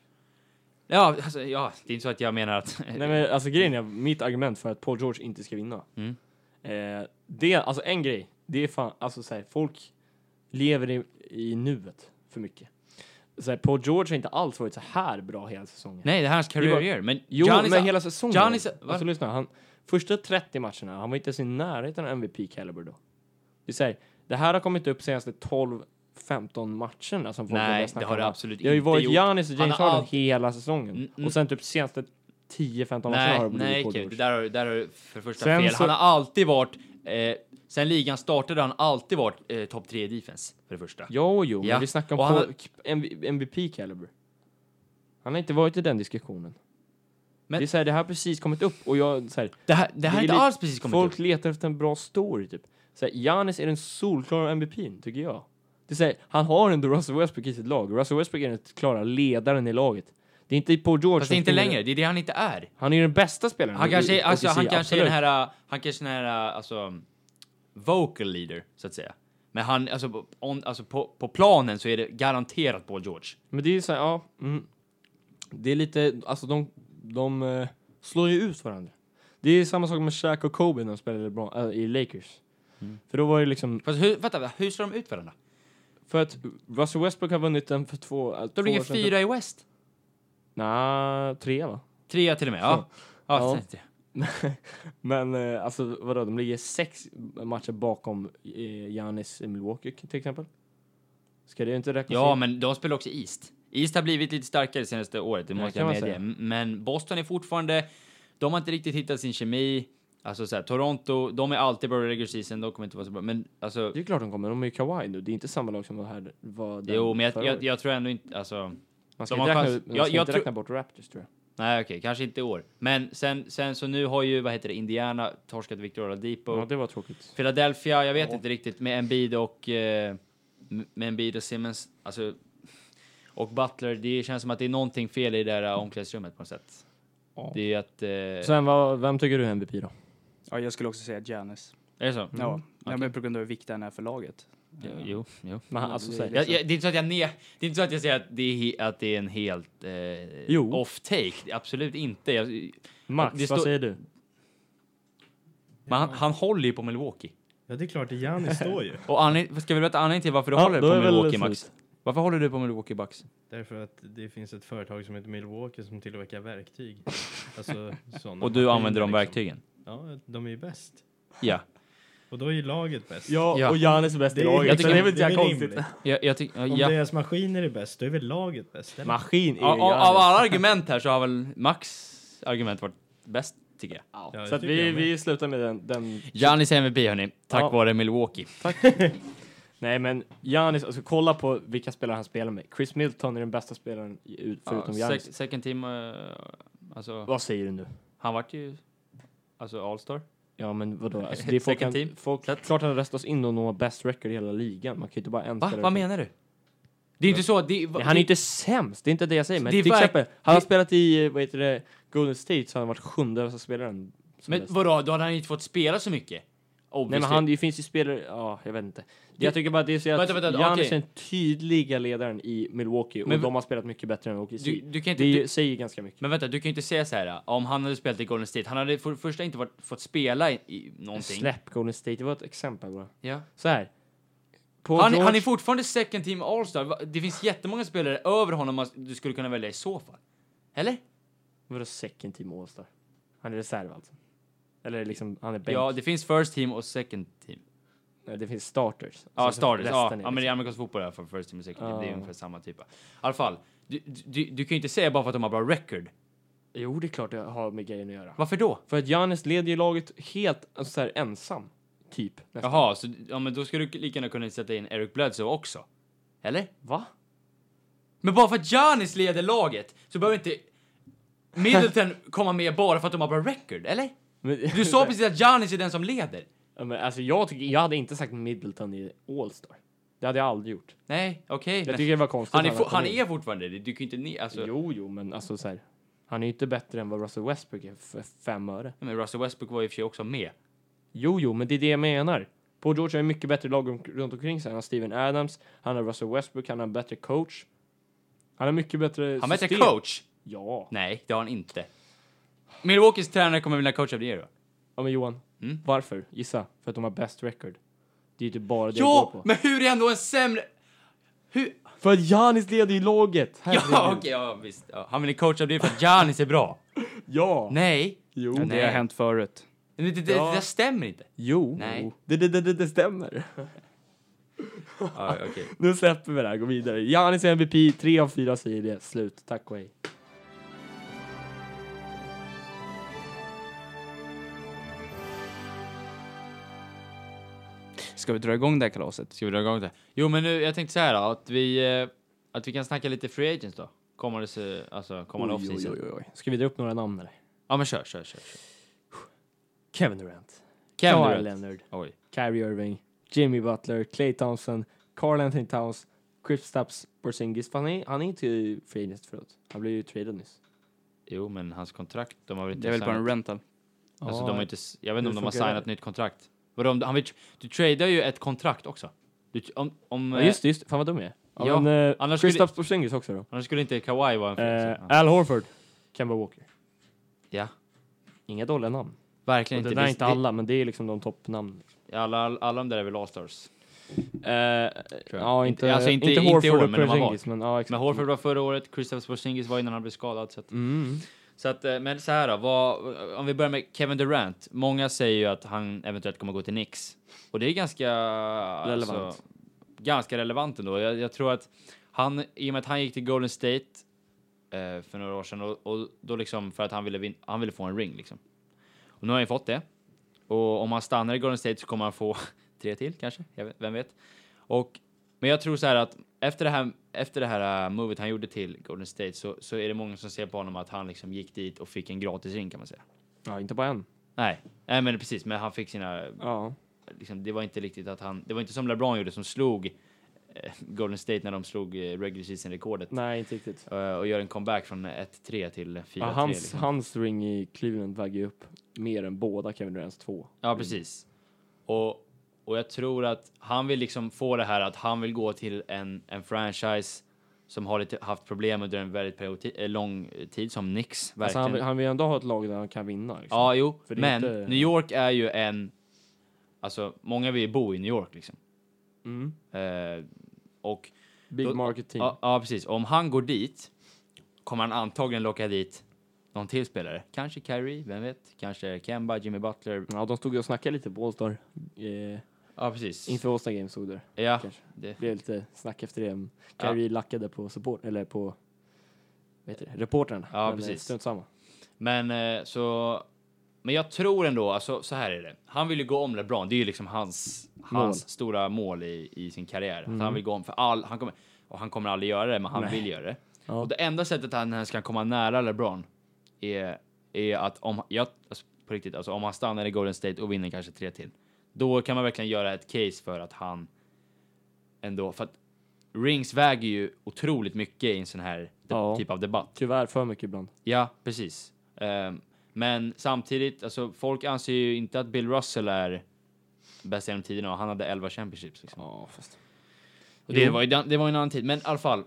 Ja, alltså, ja, det är inte så att jag menar att...
Nej men alltså grejen är, mitt argument för att Paul George inte ska vinna.
Mm.
Eh, det, alltså en grej, det är fan, alltså så här, folk lever i, i nuet för mycket. Så här, Paul George har inte alls varit så här bra hela säsongen.
Nej, det här är hans
Det är
career
bara-
year. Men
Jo,
Giannis-
men hela säsongen.
Giannis- va?
alltså lyssna, han, första 30 matcherna, han var inte ens i närheten av MVP caliber då. Det är så här, det här har kommit upp senaste 12 15 matcherna som folk
Nej,
börjar
det
snacka
har
om
det
här.
absolut
Det har ju
inte
varit
gjort.
Giannis och
Han
James
har
Harden
allt-
hela säsongen.
Mm, mm.
Och sen typ senaste 10-15 matcherna har
Nej,
det blivit
nej,
Paul
Kevin,
George.
det där har, det där har du för det första
Sen
fel.
så-
Han har alltid varit... Eh, sen ligan startade har han alltid varit eh, topp tre i defense, för det första.
Jo, jo,
Ja.
men vi snackar om
Och han
Paul- M- MVP caliber. Han har inte varit i den diskussionen.
Men-
det, är så här, det här har precis kommit upp och jag... Så här,
Det här, det här
är
är inte
lite-
alls precis kommit
folk
upp.
letar efter en bra story typ. Så här, Giannis är den solklara MVPn tycker jag. Det är så här, han har ändå Russell Westbrook i sitt lag. Russell Westbrook är den klara ledaren i laget. Det är inte Paul George
Fast det
som
är inte
springer-
längre, det är det han inte är.
Han är ju den bästa spelaren.
Han
i-
kanske,
i-
är- alltså,
OKC,
han kanske är den
absolut.
här, han kanske är den här, alltså, vocal leader, så att säga. Men han, alltså, på- on, alltså på, på planen så är det garanterat Paul George.
Men det är ju så här, ja. Mm. Det är lite, alltså de, de eh, slår ju ut varandra. Det är samma sak med Shaq och Kobe när de spelade bra, äh, i Lakers.
Mm.
För då var det liksom,
Fast hur, vänta, hur slår de ut varandra?
för att Russell Westbrook har vunnit den för två, äh,
De
två
ligger
år sedan.
fyra i West.
Nja, tre va?
Trea till och med, ja.
Ja.
ja. ja.
Men eh, alltså vadå, de ligger sex matcher bakom eh, Giannis i Milwaukee till exempel. Ska det inte räknas
Ja,
in?
men de spelar också East. East har blivit lite starkare det senaste året, det måste
kan
jag
man
medge.
säga.
M- Men Boston är fortfarande... De har inte riktigt hittat sin kemi. Alltså så här, Toronto, de är alltid bra i regular season, de kommer inte vara så bra. Men alltså...
Det är klart de kommer, de är ju kawaii nu. Det är inte samma lag som var här var där
Jo, men jag,
förra
jag,
året.
jag tror ändå inte... Alltså...
Man ska,
de
inte,
har
räkna,
chans-
ut- man
jag-
ska
jag
inte
tror-
räkna bort Raptors tror jag.
Nej, okej, kanske inte i år. Men sen, sen så nu har ju, vad heter det, Indiana torskat Victor Oladipo.
Ja, det var tråkigt.
Philadelphia, jag vet inte riktigt, med Embiid och... Eh, med Embiid och Simmons, alltså... Och Butler, det känns som att det är någonting fel i det där eh, omklädningsrummet på något sätt.
Ja.
Det är ju att... Eh,
Sen, vad, vem tycker du är MVP då?
Ja, jag skulle också säga Giannis.
är det så?
Mm.
Ja, ja, men på grund av hur viktig han är för laget.
Jo, Jo, jo.
Men han, alltså,
det-
så här,
Jag, jag, det, är inte så att jag ne- det är inte så att jag säger att det är, he- att det är en helt eh,
Jo.
off-take. Absolut inte. Jag,
Max,
det
vad
står-
säger du?
men han, han håller ju på Milwaukee.
Ja, det är klart, Giannis står ju.
Och anled- ska vi berätta anledningen till varför du
Ja,
håller
då
på
är väl
Milwaukee,
slut.
Max? Varför håller du på Milwaukee Bucks?
Därför att det finns ett företag som heter Milwaukee som tillverkar verktyg. Alltså, såna
Och du
maskiner,
liksom.
använder de
liksom.
verktygen?
Ja, de är ju bäst.
Ja.
Och då är ju laget bäst.
Ja,
Ja.
och Giannis är bäst i
Det är- liksom-
laget.
jag
så
tycker-
det är väl inte
det är
jävla konstigt.
rimligt.
Jag, jag tycker...
Om
ja.
deras maskiner är bäst, då är väl laget bäst? Eller?
Maskin är
Av,
ju
av av
Giannis.
alla argument här så har väl Max argument varit bäst, tycker jag.
Ja, det
Så att
tycker
vi,
jag med.
vi slutar med den, den
Giannis MVP, hörni. Tack
Ja.
vare Milwaukee.
Nej, men Giannis, alltså kolla på vilka spelare han spelar med. Chris Milton är den bästa spelaren i- ut- förutom
ja,
Giannis.
sec- second team, eh, alltså...
Vad säger du nu?
Han vart ju... Alltså All-star.
Ja, men vadå? Alltså, det är folk
Second team.
han, folk, klart han röstas in och når best record i hela ligan. Man kan ju inte bara en
Va?
spelare-
Vad menar du? Det är inte så... Det,
Nej, Han är ju inte sämst, det är inte det jag säger. Men
Det är
till
verk-
exempel, han har
det-
spelat i, eh, vad heter det, Golden State så har han varit sjunde bästa spelaren. som
Men
bäst.
vadå, då hade han ju inte fått spela så mycket.
Nej, men
Obviously.
han, det finns ju spelare, ja, jag vet inte.
Det-
jag tycker bara att det är så att
Vänta, vänta,
Giannis
okej.
är den tydliga ledaren i Milwaukee och
Men-
de har spelat mycket bättre än OKC.
Du, du kan inte,
det är ju-
du,
säger ju ganska mycket.
men vänta, du kan ju inte säga så här om han hade spelat i Golden State. Han hade för det första inte varit, fått spela i, i någonting.
Släpp Golden State, det var ett exempel bara.
Ja.
Så här. Paul
Han,
George,
han är fortfarande second team all-star. Va- Det finns jättemånga spelare över honom man- du skulle kunna välja i så fall. Eller?
Vadå second team All-star? Han är reserv alltså. Eller liksom, han är bänk.
Ja,
Ja,
det finns first team och second team.
det... finns starters.
Ja,
Sen så
starters.
resten är
Ja, ja,
liksom-
men i amerikansk fotboll i alla fall, first team och second team. Det är
Ja.
ungefär samma typ. I alla fall, du, du, du kan ju inte säga bara för att de har bra record.
Jo, det är klart det har med grejen att göra.
Varför då?
För att Giannis leder ju laget helt alltså, så här, ensam. Typ. Nästan.
Jaha, så ja, men då skulle du lika gärna kunna sätta in Eric Bledsoe också. Eller?
Va?
Men bara för att Giannis leder laget så behöver inte Middleton komma med bara för att de har bra record, eller?
Men,
Du sa precis att Giannis är den som leder.
Ja, men, alltså, jag, tycker, jag hade inte sagt Middleton i All-star. Det hade jag aldrig gjort.
Nej, okej.
Jag
men
tycker det var konstigt.
han, är,
att
fo-
kom
han
in.
är fortfarande det. Du kan ju inte ne- alltså,
Jo, jo, men alltså så här. Han är ju inte bättre än vad Russell Westbrook är för fem öre.
Men Russell Westbrook var i och för sig också med.
Jo, jo, men det är det jag menar. Paul George har ju mycket bättre lag om- runt omkring sig. Han har Steven Adams, han har Russell Westbrook, han har en bättre coach. Han har mycket bättre
Han hette
system.
coach.
Ja.
Nej, det har han inte. Milwaukees tränare kommer vilja coacha det då.
ja, men Johan,
Mm.
varför? Gissa. För att de har bäst record. Det är ju inte bara det jag går
Ja,
på.
men hur är han då en sämre... Hur?
För att Giannis leder ju laget!
Ja, okej,
Herregud.
ja visst. Ja, han vill coacha det för att Giannis är bra.
Ja!
Nej,
Jo.
Men det har
Nej.
hänt förut.
men det, det,
Ja.
det stämmer inte.
Jo.
Nej.
Det, det, det, det, det stämmer.
Ja, okej.
Nu släpper vi det här, går vidare. Giannis är MVP, tre av fyra säger det. Slut. Tack och hej.
Ska vi dra igång det här kalaset?
Ska vi dra igång det? Jo, men nu, jag tänkte så här då, att vi, eh, att vi kan snacka lite free agents då. Kommande, se- alltså, kommande offseason.
oj, oj. Ska vi dra upp några namn eller?
Ja, men kör, kör, kör. kör.
Kevin Durant.
Kevin
Kawhi
Durant.
Leonard.
Oj.
Kyrie Irving. Jimmy Butler. Clay Thompson. Carl Anthony Towns. Kristaps Porzingis. Fan, han är, han är inte free agent förut. Han blev ju traded nyss.
Jo, men hans kontrakt, de har väl
Det
inte...
är väl bara
signat-
en rental.
alltså, de har inte, s- jag vet inte
Hur
om de har
funkar det?
signat nytt kontrakt. Vadå, om du- han vill, du tradar ju ett kontrakt också. Du, t- om, om, eh,
Ja, just det, just det. Fan vad dum jag är.
Ja,
Ja, men, eh,
annars skulle-
Kristaps Porzingis också då.
eh, Annars skulle inte Kawhi vara en free
Eh,
agent. Ja.
Al Horford. Kemba Walker.
Ja.
Inga dåliga namn.
Verkligen
Och det
inte.
där är
Det,
inte alla, men det är liksom de toppnamn.
det, alla, alla, alla de där är väl All-Stars. jag.
ja,
Inte-
inte,
Eh, alltså inte-
inte,
inte i
Horford
år,
och
men de har
Porzingis, men ja, exakt.
Men Horford var förra året, Kristaps Porzingis var innan han blev skadad. Så att,
Mm.
Så att, eh, men så här då, vad, om vi börjar med Kevin Durant. Många säger ju att han eventuellt kommer gå till Knicks. Och det är ganska...
Relevant.
Alltså, ganska relevant ändå. Jag, jag tror att han, i och med att han gick till Golden State eh, för några år sedan och, och då liksom för att han ville, vin- han ville få en ring liksom. Och nu har han ju fått det. Och om han stannar i Golden State så kommer han få tre till kanske, jag vet, vem vet. Och, men jag tror så här att efter det här, efter det här eh, movet han gjorde till Golden State så, så är det många som ser på honom att han liksom gick dit och fick en gratis ring kan man säga.
Ja, inte bara en.
Nej, nej men precis, men han fick sina,
Ja.
liksom, det var inte riktigt att han, det var inte som LeBron gjorde som slog eh, Golden State när de slog eh, regular season-rekordet
Nej, inte riktigt.
eh, och gör en comeback från 1-3 till 4-3.
Ja, hans,
liksom.
hans ring i Cleveland väger ju upp mer än båda Kevin Durants två.
Ja, precis. Och, och jag tror att han vill liksom få det här att han vill gå till en, en franchise som har lite, haft problem under en väldigt period, ti- eh, lång tid som Knicks. Verkligen.
Alltså han, vill- han vill ändå ha ett lag där han kan vinna. Liksom.
ja, jo,
För det är
men
inte-
New York är ju en... Alltså, många vill ju bo i New York liksom.
Mm.
Eh, och,
Big
Då-
market team.
ja, ja, precis. Om han går dit kommer han antagligen locka dit någon till spelare. Kanske Kyrie, vem vet? Kanske Kemba, Jimmy Butler.
Ja, de stod ju och snackade lite på All-Star. Eh,
Ja, precis.
inför All-Star Game stod det.
ja,
kanske.
det.
Det blev lite snack efter det. Kyrie lackade på support, eller på vet du, reportrarna.
Ja,
eh,
precis.
Strunt samma.
Men eh, så... Men jag tror ändå, alltså så här är det. Han vill ju gå om LeBron. Det är ju liksom hans, hans stora mål i, i sin karriär. Att
Mm.
han vill gå om för all... Han kommer, och han kommer aldrig göra det, men han vill göra det.
Ja.
Och det enda sättet han ens kan komma nära LeBron är, är att om... Jag, alltså, på riktigt, alltså om han stannar i Golden State och vinner kanske tre till. Då kan man verkligen göra ett case för att han ändå... För att rings väger ju otroligt mycket i en sån här de-
Ja.
typ av debatt.
Tyvärr för mycket ibland.
Ja, precis. Ehm, men samtidigt, alltså folk anser ju inte att Bill Russell är bäst genom tiderna och han hade 11 championships. Liksom.
Ja, fast.
Och det,
Jo.
var ju, den- det var ju en annan tid, men i alla fall.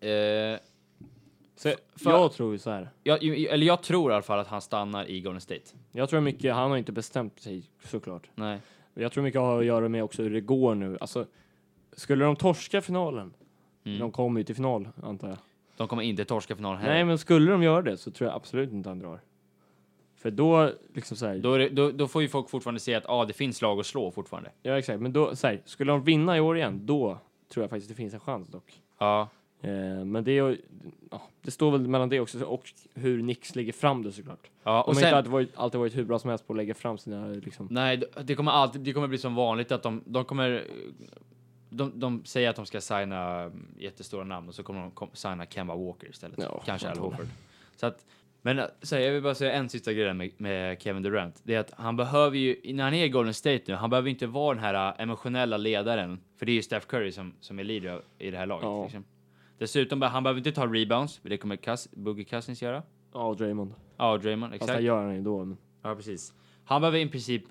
Eh,
Så,
för-
jag tror ju så här.
jag, eller jag tror i alla fall att han stannar i Golden State.
Jag tror mycket, han har inte bestämt sig såklart.
Nej.
Men Jag tror mycket har att göra med också hur det går nu. Alltså, skulle de torska finalen?
Mm.
De kommer ju till final, antar jag.
De kommer inte torska finalen heller.
Nej, men skulle de göra det så tror jag absolut inte han drar. För då, liksom så här,
Då, är det, då, då får ju folk fortfarande se att ah, det finns lag att slå fortfarande.
ja exakt, men då, så här, skulle de vinna i år igen, då tror jag faktiskt det finns en chans dock.
Ja,
Eh, men det, är ju- ja, det står väl mellan det också och hur Nix lägger fram det såklart.
ja
Och
och
De har inte
sen...
alltid varit, alltid varit hur bra som helst på att lägga fram sina liksom.
Nej, det kommer alltid, det kommer bli som vanligt att de, de kommer... De, de säger att de ska signa mm, jättestora namn och så kommer de kom, signa Kemba Walker istället.
Ja,
Kanske Al
antagligen.
Horford. Så att, men äh, så här, jag vill bara säga en sista grej där med, med Kevin Durant. Det är att han behöver ju, när han är i Golden State nu, han behöver inte vara den här äh, emotionella ledaren. För det är ju Steph Curry som, som är leader i det här laget.
Ja.
Liksom. Dessutom, be- han behöver inte ta rebounds, för det kommer Cass, Boogie Cousins göra.
Ja, Draymond.
Ja, och Draymond,
Fast
exakt.
han gör han ju då. Men.
Ja, precis. Han behöver i princip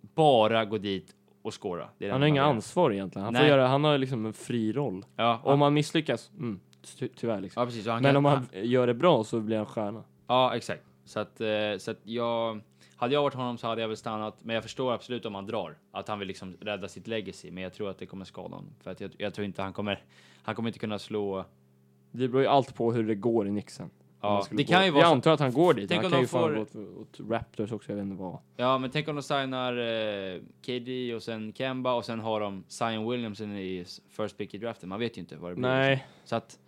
bara gå dit och skåra. Det är det
Han har inga
behöver.
ansvar egentligen. Han, får
Nej.
göra, han har liksom en fri roll.
Ja,
Om
om
han misslyckas, mm, ty tyvärr liksom.
ja, precis. Så Han
Men
kan,
om han
han,
gör det bra så blir han stjärna.
ja, exakt. Så att, eh, så att jag... Hade jag varit honom så hade jag väl stannat. Men jag förstår absolut om han drar. Att han vill liksom rädda sitt legacy. Men jag tror att det kommer skada honom. För att jag, jag tror inte han kommer... Han kommer inte kunna slå...
Det beror ju allt på hur det går i Nixon. Om han
Ja,
skulle
det
gå-
kan ju
Jag
vara... Så,
antar att han går dit.
Tänk
han
om
kan
de
ju
får-
fan gå åt, åt Raptors också, jag vet inte vad.
ja, men tänk om de signar eh, KD och sen Kemba och sen har de Zion Williamson i first pick i draften. Man vet ju inte vad det blir.
Nej,
Så att...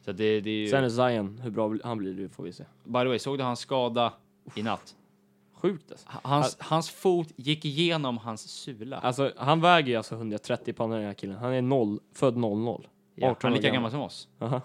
Så att det, det är ju...
sen är Zion, hur bra han blir det får vi se.
By the way, såg du hans skada i natt?
Sjukt alltså.
Hans, hans fot gick igenom hans sula.
Alltså han väger ju alltså 130 pannor den här killen. Han är noll, född 00.
ja,
18
han är
år
lika
gammal.
gammal som oss.
Aha.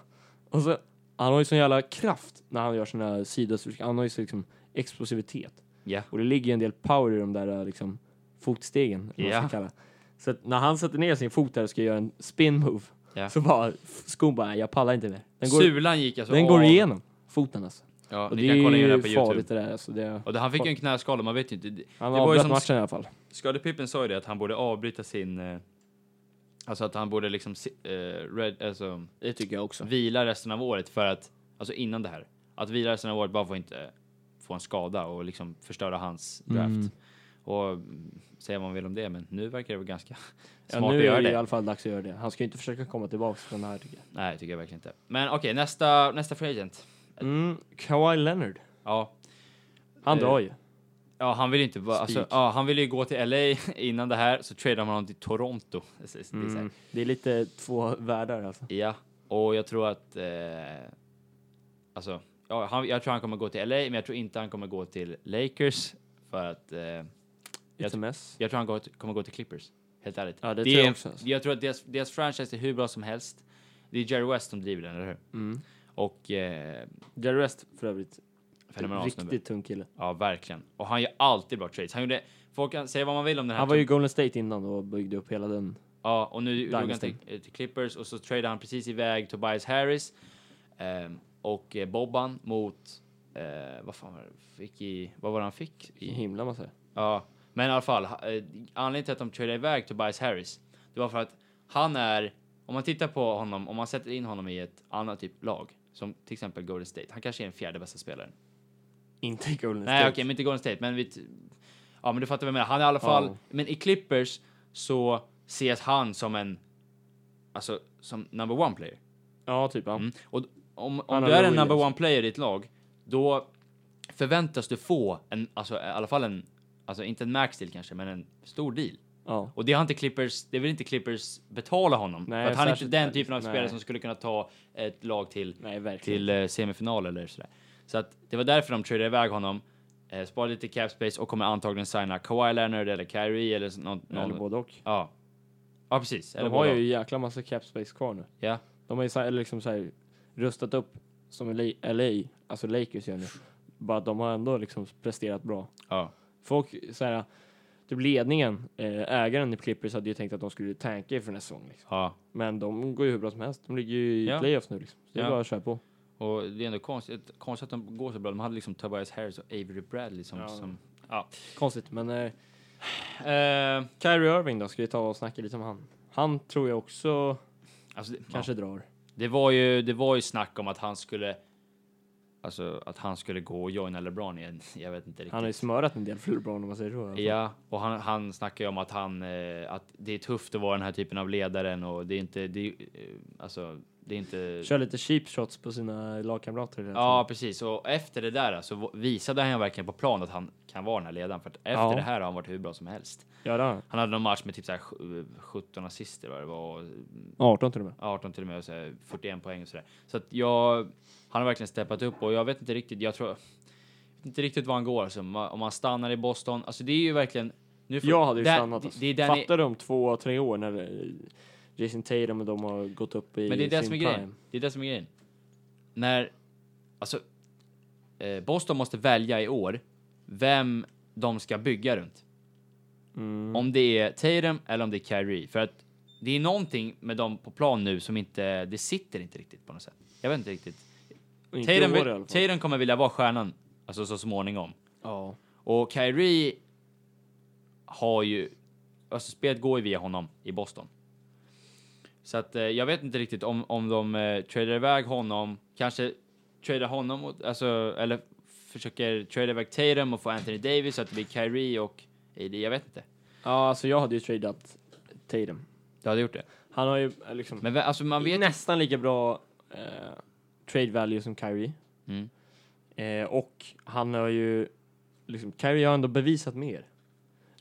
Och så, han har ju sån jävla kraft när han gör sina sidostyrkor. Han har ju så liksom explosivitet.
Ja.
Och det ligger ju en del power i de där liksom fotstegen. eller vad man
Ja.
Ska kalla. Så att när han sätter ner sin fot där och ska göra en spin move.
Ja.
Så bara skon bara, "Nej, jag pallar inte mer. Den går,
Sulan gick alltså
den
av.
går igenom foten alltså.
Ja,
Och
ni
det
kan kolla in det
är
här på
ju
Youtube.
farligt det där. Alltså, det,
Och det, han fick ju en knäskada, man vet ju inte. Det, det
han
var ju
avbröt
som
matchen i alla fall.
Skadepippen sa ju det, att han borde avbryta sin... eh, Alltså att han borde liksom si- eh, red, alltså,
Det tycker jag också.
vila resten av året för att... Alltså innan det här. Att vila resten av året bara för att inte eh, få en skada och liksom förstöra hans draft. Och mm, säga vad man vill om det, men nu verkar det väl ganska
Ja,
smart
nu
att
är
göra
det
det.
i alla fall dags att göra det. Han ska ju inte försöka komma tillbaka från det här tycker jag.
Nej, tycker jag verkligen inte. Men okej, nästa, nästa free agent.
Mm, Kawhi Leonard.
Ja,
Han
Eh,
drar ju.
ja han vill inte bara, alltså,
Spik.
ja, han ville ju gå till LA innan det här, så tradar man honom till Toronto. Det är så- det är så här.
Mm. Det är lite två världar alltså.
Ja, och jag tror att, eh, alltså, ja, han, jag tror han kommer gå till LA, men jag tror inte han kommer gå till Lakers för att eh, Jag
Lite mess.
jag tror han går, till- kommer gå till Clippers. Helt ärligt.
Ja, det tror jag
är-
också, alltså.
Jag tror att deras, deras franchise är hur bra som helst. Det är Jerry West som driver den, eller hur? Och eh,
Jerry West för övrigt.
fenomenal
riktigt
snubbe.
tung kille.
Ja, verkligen. Och han gör alltid bra trades. Han gjorde, folk kan säga vad man vill om den här.
Han var ju i Golden State innan och byggde upp hela den.
Ja, och nu drog han till, eh,
Dynasty.
till Clippers och så tradade han precis iväg Tobias Harris ehm, och eh, Bobban mot, eh, vad fan var det, fick i, vad var det han fick?
I
I,
himla massa.
ja, men i alla fall, ha- eh, anledningen till att de tradade iväg Tobias Harris, det var för att han är, om man tittar på honom, om man sätter in honom i ett annat typ lag, som till exempel Golden State, han kanske är den fjärde bästa spelaren.
Inte i Golden
Nej, okej, men inte Golden State, men vi... t- Ja, men du fattar vad jag menar. Han är i alla fall...
Ja.
Men i Clippers så ses han som en... Alltså, som number one player.
Ja, typ. Ja.
Mm. Och d- om, om
Han
du
har
är en
Lou
number
Williams.
one player i ett lag, då förväntas du få en, alltså i alla fall en, alltså inte en max deal kanske, men en stor deal.
Ja.
Och det har inte Clippers, det vill inte Clippers betala honom.
Nej,
för att han är inte
särskilt-
den typen av spelare
nej.
som skulle kunna ta ett lag till
Nej, verkligen.
till eh, semifinal eller sådär. Så att det var därför de tradade iväg honom, eh, sparade lite cap space och kommer antagligen signa Kawhi Leonard eller Kyrie eller så- någon. någon
Eller både och.
ja. ja, precis.
De
Eller
har
båda.
ju en jäkla massa cap space kvar nu.
Ja.
De har ju så här, liksom så här, rustat upp som LA, LA, alltså Lakers gör nu. Bara att de har ändå liksom presterat bra.
Ja.
Folk, så här, typ ledningen, eh, ägaren i Clippers hade ju tänkt att de skulle tanka inför nästa säsong. Liksom.
ja.
Men de går ju hur bra som helst. De ligger ju i
Ja.
playoffs nu liksom. Så det är
Ja.
bara att köra på.
Och det är ändå konstigt, konstigt att de går så bra. De hade liksom Tobias Harris och Avery Bradley som...
Ja.
som
Konstigt, men eh,
eh,
Kyrie Irving då, ska vi ta och snacka lite om han. Han tror jag också
alltså, det,
kanske drar.
det var ju, det var ju snack om att han skulle... Alltså att han skulle gå och joina LeBron igen. Jag vet inte riktigt.
Han har ju smörat en del för LeBron om man säger så. i alla fall.
Ja, och han, han snackar ju om att, han, eh, att det är tufft att vara den här typen av ledaren och det är inte... Det, är, eh, alltså, det är inte...
Kör lite cheap shots på sina lagkamrater. hela
Ja, precis. Och efter det där så v- visade han verkligen på plan att han kan vara den här ledaren. För att efter
Ja.
det här har han varit hur bra som helst.
tiden. Ja, det har han.
Han hade någon match med typ så här sj- 17 assister, vad det var. och
18 till och med.
18 till och med, och så här 41 poäng och sådär. Så att jag... Han har verkligen steppat upp och jag vet inte riktigt, jag tror... jag vet Inte riktigt var han går alltså. Om man- Om han stannar i Boston, alltså det är ju verkligen... Nu får-
Jag hade ju
där-
stannat. Alltså.
Det är den,
Fattar du om två, tre år när eh, Jason Tatum och de har gått upp i
Men det är det
sin
som är
prime.
grejen. Det är det som är grejen. När, alltså, eh, Boston måste välja i år vem de ska bygga runt.
Mm,
Om det är Tatum eller om det är Kyrie. För att det är någonting med dem på plan nu som inte, det sitter inte riktigt på något sätt. Jag vet inte riktigt.
Inte i
Tatum,
år i alla
vill,
fall.
Tatum kommer vilja vara stjärnan, alltså så småningom.
Ja.
Och Kyrie har ju... Alltså spelet går ju via honom i Boston. Så att eh, jag vet inte riktigt om, om de eh, tradar iväg honom, kanske tradar honom, och, alltså, eller försöker trada iväg Tatum och få Anthony Davis så att det blir Kyrie och AD. Jag vet inte.
ja, alltså jag hade ju tradeat Tatum.
Du hade gjort det.
Han har ju eh, liksom
Men vä- alltså man vet...
nästan lika bra eh, trade value som Kyrie.
Mm.
Eh, och han har ju, liksom, Kyrie har ändå bevisat mer.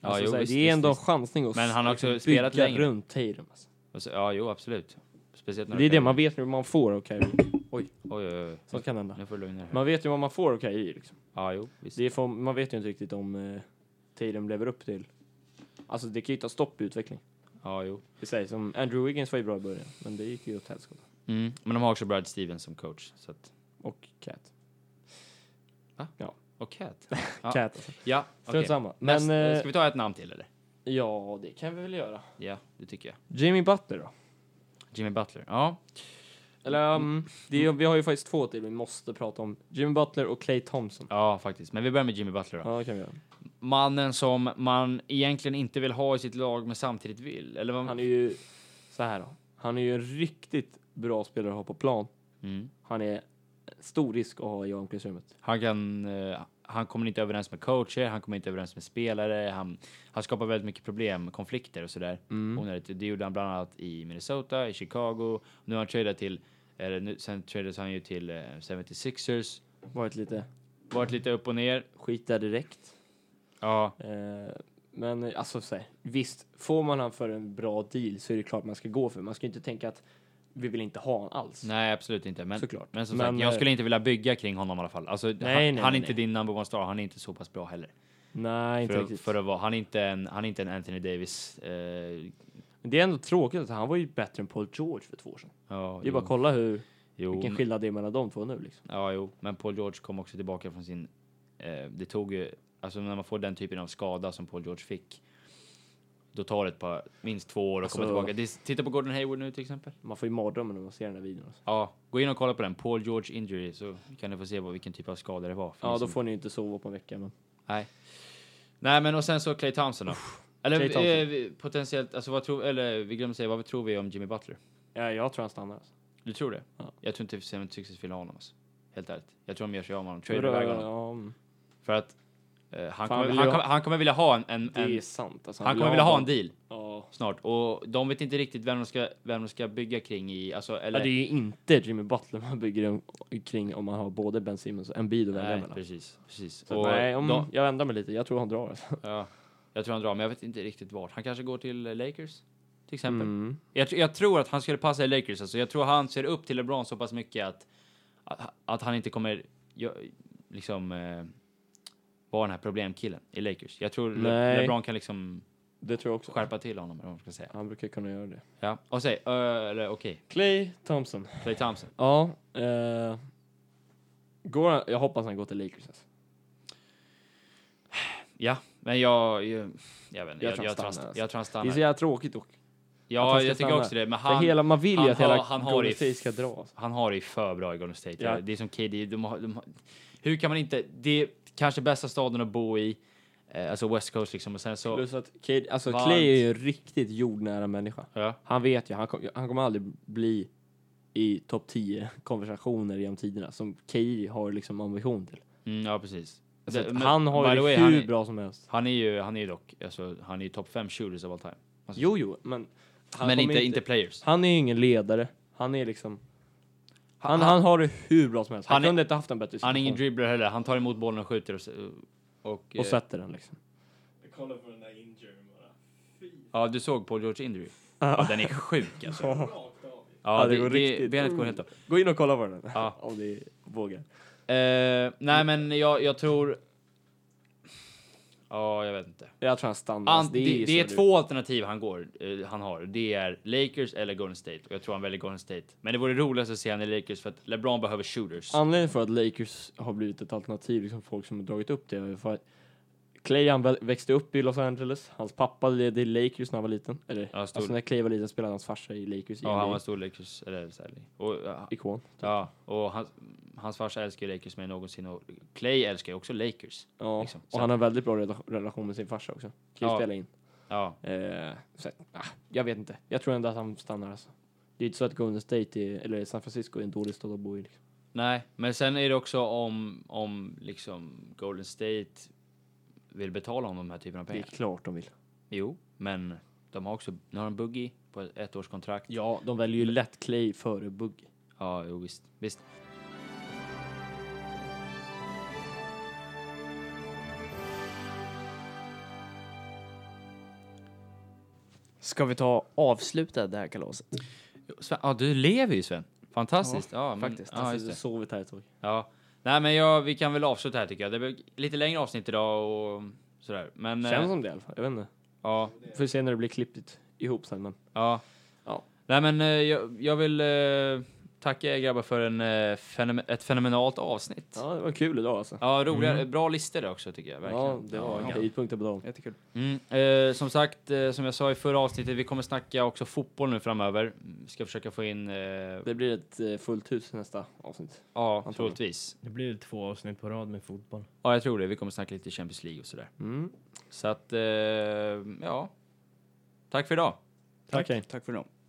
Ja,
Alltså,
jo,
såhär,
visst,
det
visst,
är ändå en
visst.
chansning att
Men han har
liksom
också spelat
bygga
längre.
runt Tatum. Alltså.
Alltså, ja, jo, absolut. Speciellt när
Det är det,
Kyrie-
man vet ju vad man får av Kyrie.
Oj, oj, oj.
Sånt kan hända.
Nu får du lugna dig. här.
Man vet ju vad man får av Kyrie. Liksom.
Ja, jo, visst.
Det är för, man vet ju inte riktigt om eh, Tatum lever upp till... Alltså det kan ju ta stopp i utveckling.
Ja, jo.
Det sägs som Andrew Wiggins var ju bra i början, men det gick ju åt helskotta.
Mm. Men de har också Brad Stevens som coach, så att...
Och Cat.
Och Cat. Ja.
Cat alltså.
Ja,
Strunt
okej.
samma.
Men,
Men, eh,
ska vi ta ett namn till eller?
Ja, det kan vi väl göra.
Ja, det tycker jag.
Jimmy Butler då?
Jimmy Butler. Ja,
Eller, um, det är, vi har ju faktiskt två till vi måste prata om. Jimmy Butler och Clay Thompson.
ja faktiskt. Men vi börjar med Jimmy Butler då.
Ja, det kan vi göra.
Mannen som man egentligen inte vill ha i sitt lag men samtidigt vill. Eller vad...
Um, Han är ju... Så här då. Han är ju en riktigt bra spelare att ha på plan.
mm.
Han är stor risk att ha i omklädningsrummet.
han kan... eh, han kommer inte överens med coacher, han kommer inte överens med spelare. Han, han skapar väldigt mycket problem, konflikter och sådär. Onödigt. Det gjorde han bland annat i Minnesota, i Chicago. Nu har han tradat till... Eller nu, sen tradades han ju till eh, 76ers.
Varit lite
Varit lite upp och ner.
skit där direkt.
Ja,
Eh, men eh, alltså så här, visst, får man han för en bra deal så är det klart man ska gå för. Man ska ju inte tänka att vi vill inte ha han alls.
Nej, absolut inte. Men,
Såklart.
men som
Men,
sagt, jag
eh,
skulle inte vilja bygga kring honom i alla fall. Alltså, han,
nej, nej,
han är
nej.
inte din number one star. Han är inte så pass bra heller.
Nej, inte
för,
riktigt.
för att vara, han, är inte en, han är inte en Anthony Davis. Eh,
Men det är ändå tråkigt att han var ju bättre än Paul George för två år sedan.
ja,
Det är
jo,
bara att kolla hur,
jo,
vilken
men-
skillnad det är mellan de två nu. Liksom.
Ja, jo, men Paul George kom också tillbaka från sin... Eh, det tog ju... Alltså när man får den typen av skada som Paul George fick, då tar det ett par, minst två år att komma
Alltså-
tillbaka. Det, titta på Gordon Hayward nu till exempel.
Man får ju mardrömmar när man ser den här videon. Alltså.
Ja, gå in och kolla på den. Paul George injury, så kan ni få se vad, vilken typ av skada det var. För
Ja,
ni
då
som-
får ni ju inte sova på en vecka. Men...
Nej. Nej, men och sen så Clay Thompson då. Eller
Klay Thompson.
eh, vi- potentiellt, alltså vad tror, eller vi glömde säga, vad tror vi om Jimmy Butler?
Ja, jag tror han stannar. Alltså.
Du tror det?
Ja.
Jag tror inte 76 vill ha honom alltså. Helt ärligt. Jag tror de gör sig av med honom,
Vadå,
tradar iväg honom.
ja, mm,
För att eh, han,
Fan,
kommer,
vill
han,
jag-
kommer, han kommer vilja ha en, en,
det är
en
sant. Alltså,
han kommer vilja ha en deal.
Ja, Ja.
snart. Och de vet inte riktigt vem de ska, vem de ska bygga kring i. Alltså, eller,
Ja, det är ju inte Jimmy Butler man bygger om- kring om man har både Ben Simmons och Embiid att välja
nej,
mellan.
precis. precis.
Så
Och
nej, om,
de,
jag ändrar mig lite. Jag tror han drar. Alltså.
ja, jag tror han drar, men jag vet inte riktigt vart. Han kanske går till eh, Lakers, till exempel.
Mm.
Jag, tr- jag tror att han skulle passa i Lakers. Alltså. Jag tror han ser upp till LeBron så pass mycket att, att, att han inte kommer ja, liksom eh, vara den här problemkillen i Lakers. Jag tror Le-
Nej.
LeBron kan liksom
Det tror jag också.
skärpa till honom, eller vad man ska säga.
Han brukar kunna göra det.
Ja, och säg, ö, eller okej,
Clay Thompson.
Clay Thompson.
Ja. Eh, går han, jag hoppas han går till Lakers. Alltså.
Ja, men jag, jag, jag vet inte,
Jag
jag, jag,
tror han
tror han
stannar,
st-
alltså.
jag tror han
Det är
stannar.
så jävla tråkigt dock. att
Ja,
han ska
jag tycker
stanna.
också det, men
För
han,
hela, man vill ju
han
att hela
har- han har
Golden
i-
State ska dra. Alltså.
han har det ju för bra i Golden State.
Ja.
Det är som KD, de har, de har, hur kan man inte, det är kanske bästa staden att bo i, eh, alltså West Coast liksom, och sen så...
Plus att Cade, alltså
Varmt.
Clay är ju en riktigt jordnära människa.
Ja.
Han vet ju, han, kom, han kommer aldrig bli i topp 10 konversationer genom tiderna som KI har liksom ambition till.
Mm, ja, precis.
Så
Det-
att
men
Alltså, han har
by
ju
the
det
way,
hur
han är-
bra som helst.
Han är ju, han är ju dock, alltså, han är ju topp 5 shooters of all time. Alltså,
Jo, jo, men... Han
men
kommer
inte, inte players.
Han är ju ingen ledare. Han är liksom... Han, han, har det hur bra som helst. Han,
Han är-
kunde inte haft en bättre situation.
Han är ingen dribbler heller, han tar emot bollen och skjuter och... s- Och,
Och
eh,
sätter den liksom.
Jag kollar på den där injuryn bara.
eh, ja, du såg på George Injury. Ja, den är sjuk alltså. Ja,
Rakt av.
Ja, Alltså, det går riktigt- Mm.
Benet går helt av.
Gå in och kolla på den.
Ja.
Om ni vågar.
Eh, nej, men jag, jag tror... Ja, jag vet inte.
Jag tror han stannar.
Ant,
Alltså,
det, det,
ju
är
så
två alternativ han, går, eh, han har. Det är Lakers eller Golden State. Och jag tror han väljer Golden State. Men det vore roligast att se han i Lakers för att LeBron behöver shooters.
Anledningen för att Lakers har blivit ett alternativ, liksom folk som har dragit upp det, är för att Clay han vä- växte upp i Los Angeles. Hans pappa ledde i Lakers när han var liten. Eller,
Ja, stor-
alltså när Clay var liten spelade hans farsa i Lakers. i
Ja, han
NBA.
var en stor Lakers... Eller, så här, och, ja,
Ikon.
ja, och hans, hans farsa älskar ju Lakers mer än någonsin. Och Clay älskar ju också Lakers.
Ja.
Liksom. Så
Och han har en väldigt bra rela- relation med sin farsa också. Kan ju
Ja.
spela in.
Ja,
Eh, så, ah, jag vet inte. Jag tror ändå att han stannar alltså. Det är inte så att Golden State är, eller San Francisco är en dålig stad att bo i. Liksom.
nej. Men sen är det också om, om liksom Golden State vill betala honom de här typen av
Det är
pengar.
klart de vill.
Jo, men de har också... Nu har de Boogie på ett års kontrakt.
Ja, de väljer ju lätt Clay före Buggy.
Ja, jo, visst. visst.
Ska vi ta och avsluta det här kalaset?
Sven, ja, du lever ju Sven. Fantastiskt. Ja, men,
faktiskt.
Ja,
alltså,
just
du har
det.
sovit här ett tag.
ja. Nej, men ja, vi kan väl avsluta här tycker jag. Det blir lite längre avsnitt idag och sådär. Men eh,
Känns som det i alla fall. Jag vet inte.
ja,
Får se när det blir klippigt ihop sen. Men
ja,
Ja.
Nej, men eh, jag, jag vill eh, tacka er grabbar för en, eh, fenomen- ett fenomenalt avsnitt. Ja,
ja, det var kul idag alltså.
roliga, bra listor också tycker jag. Verkligen.
Ja, det var
Ja.
höjdpunkter på dagen.
Jättekul.
Mm, eh, som sagt, eh, som jag sa i förra avsnittet, vi kommer snacka också fotboll nu framöver. Vi ska försöka få in, eh,
Det blir ett eh, fullt hus i nästa avsnitt.
ja, troligtvis.
Det blir två avsnitt på rad med fotboll.
Ja, jag tror det. Vi kommer snacka lite Champions League och sådär.
Mm.
Så att, eh, ja. Tack för idag.
Tack.
Tack för idag.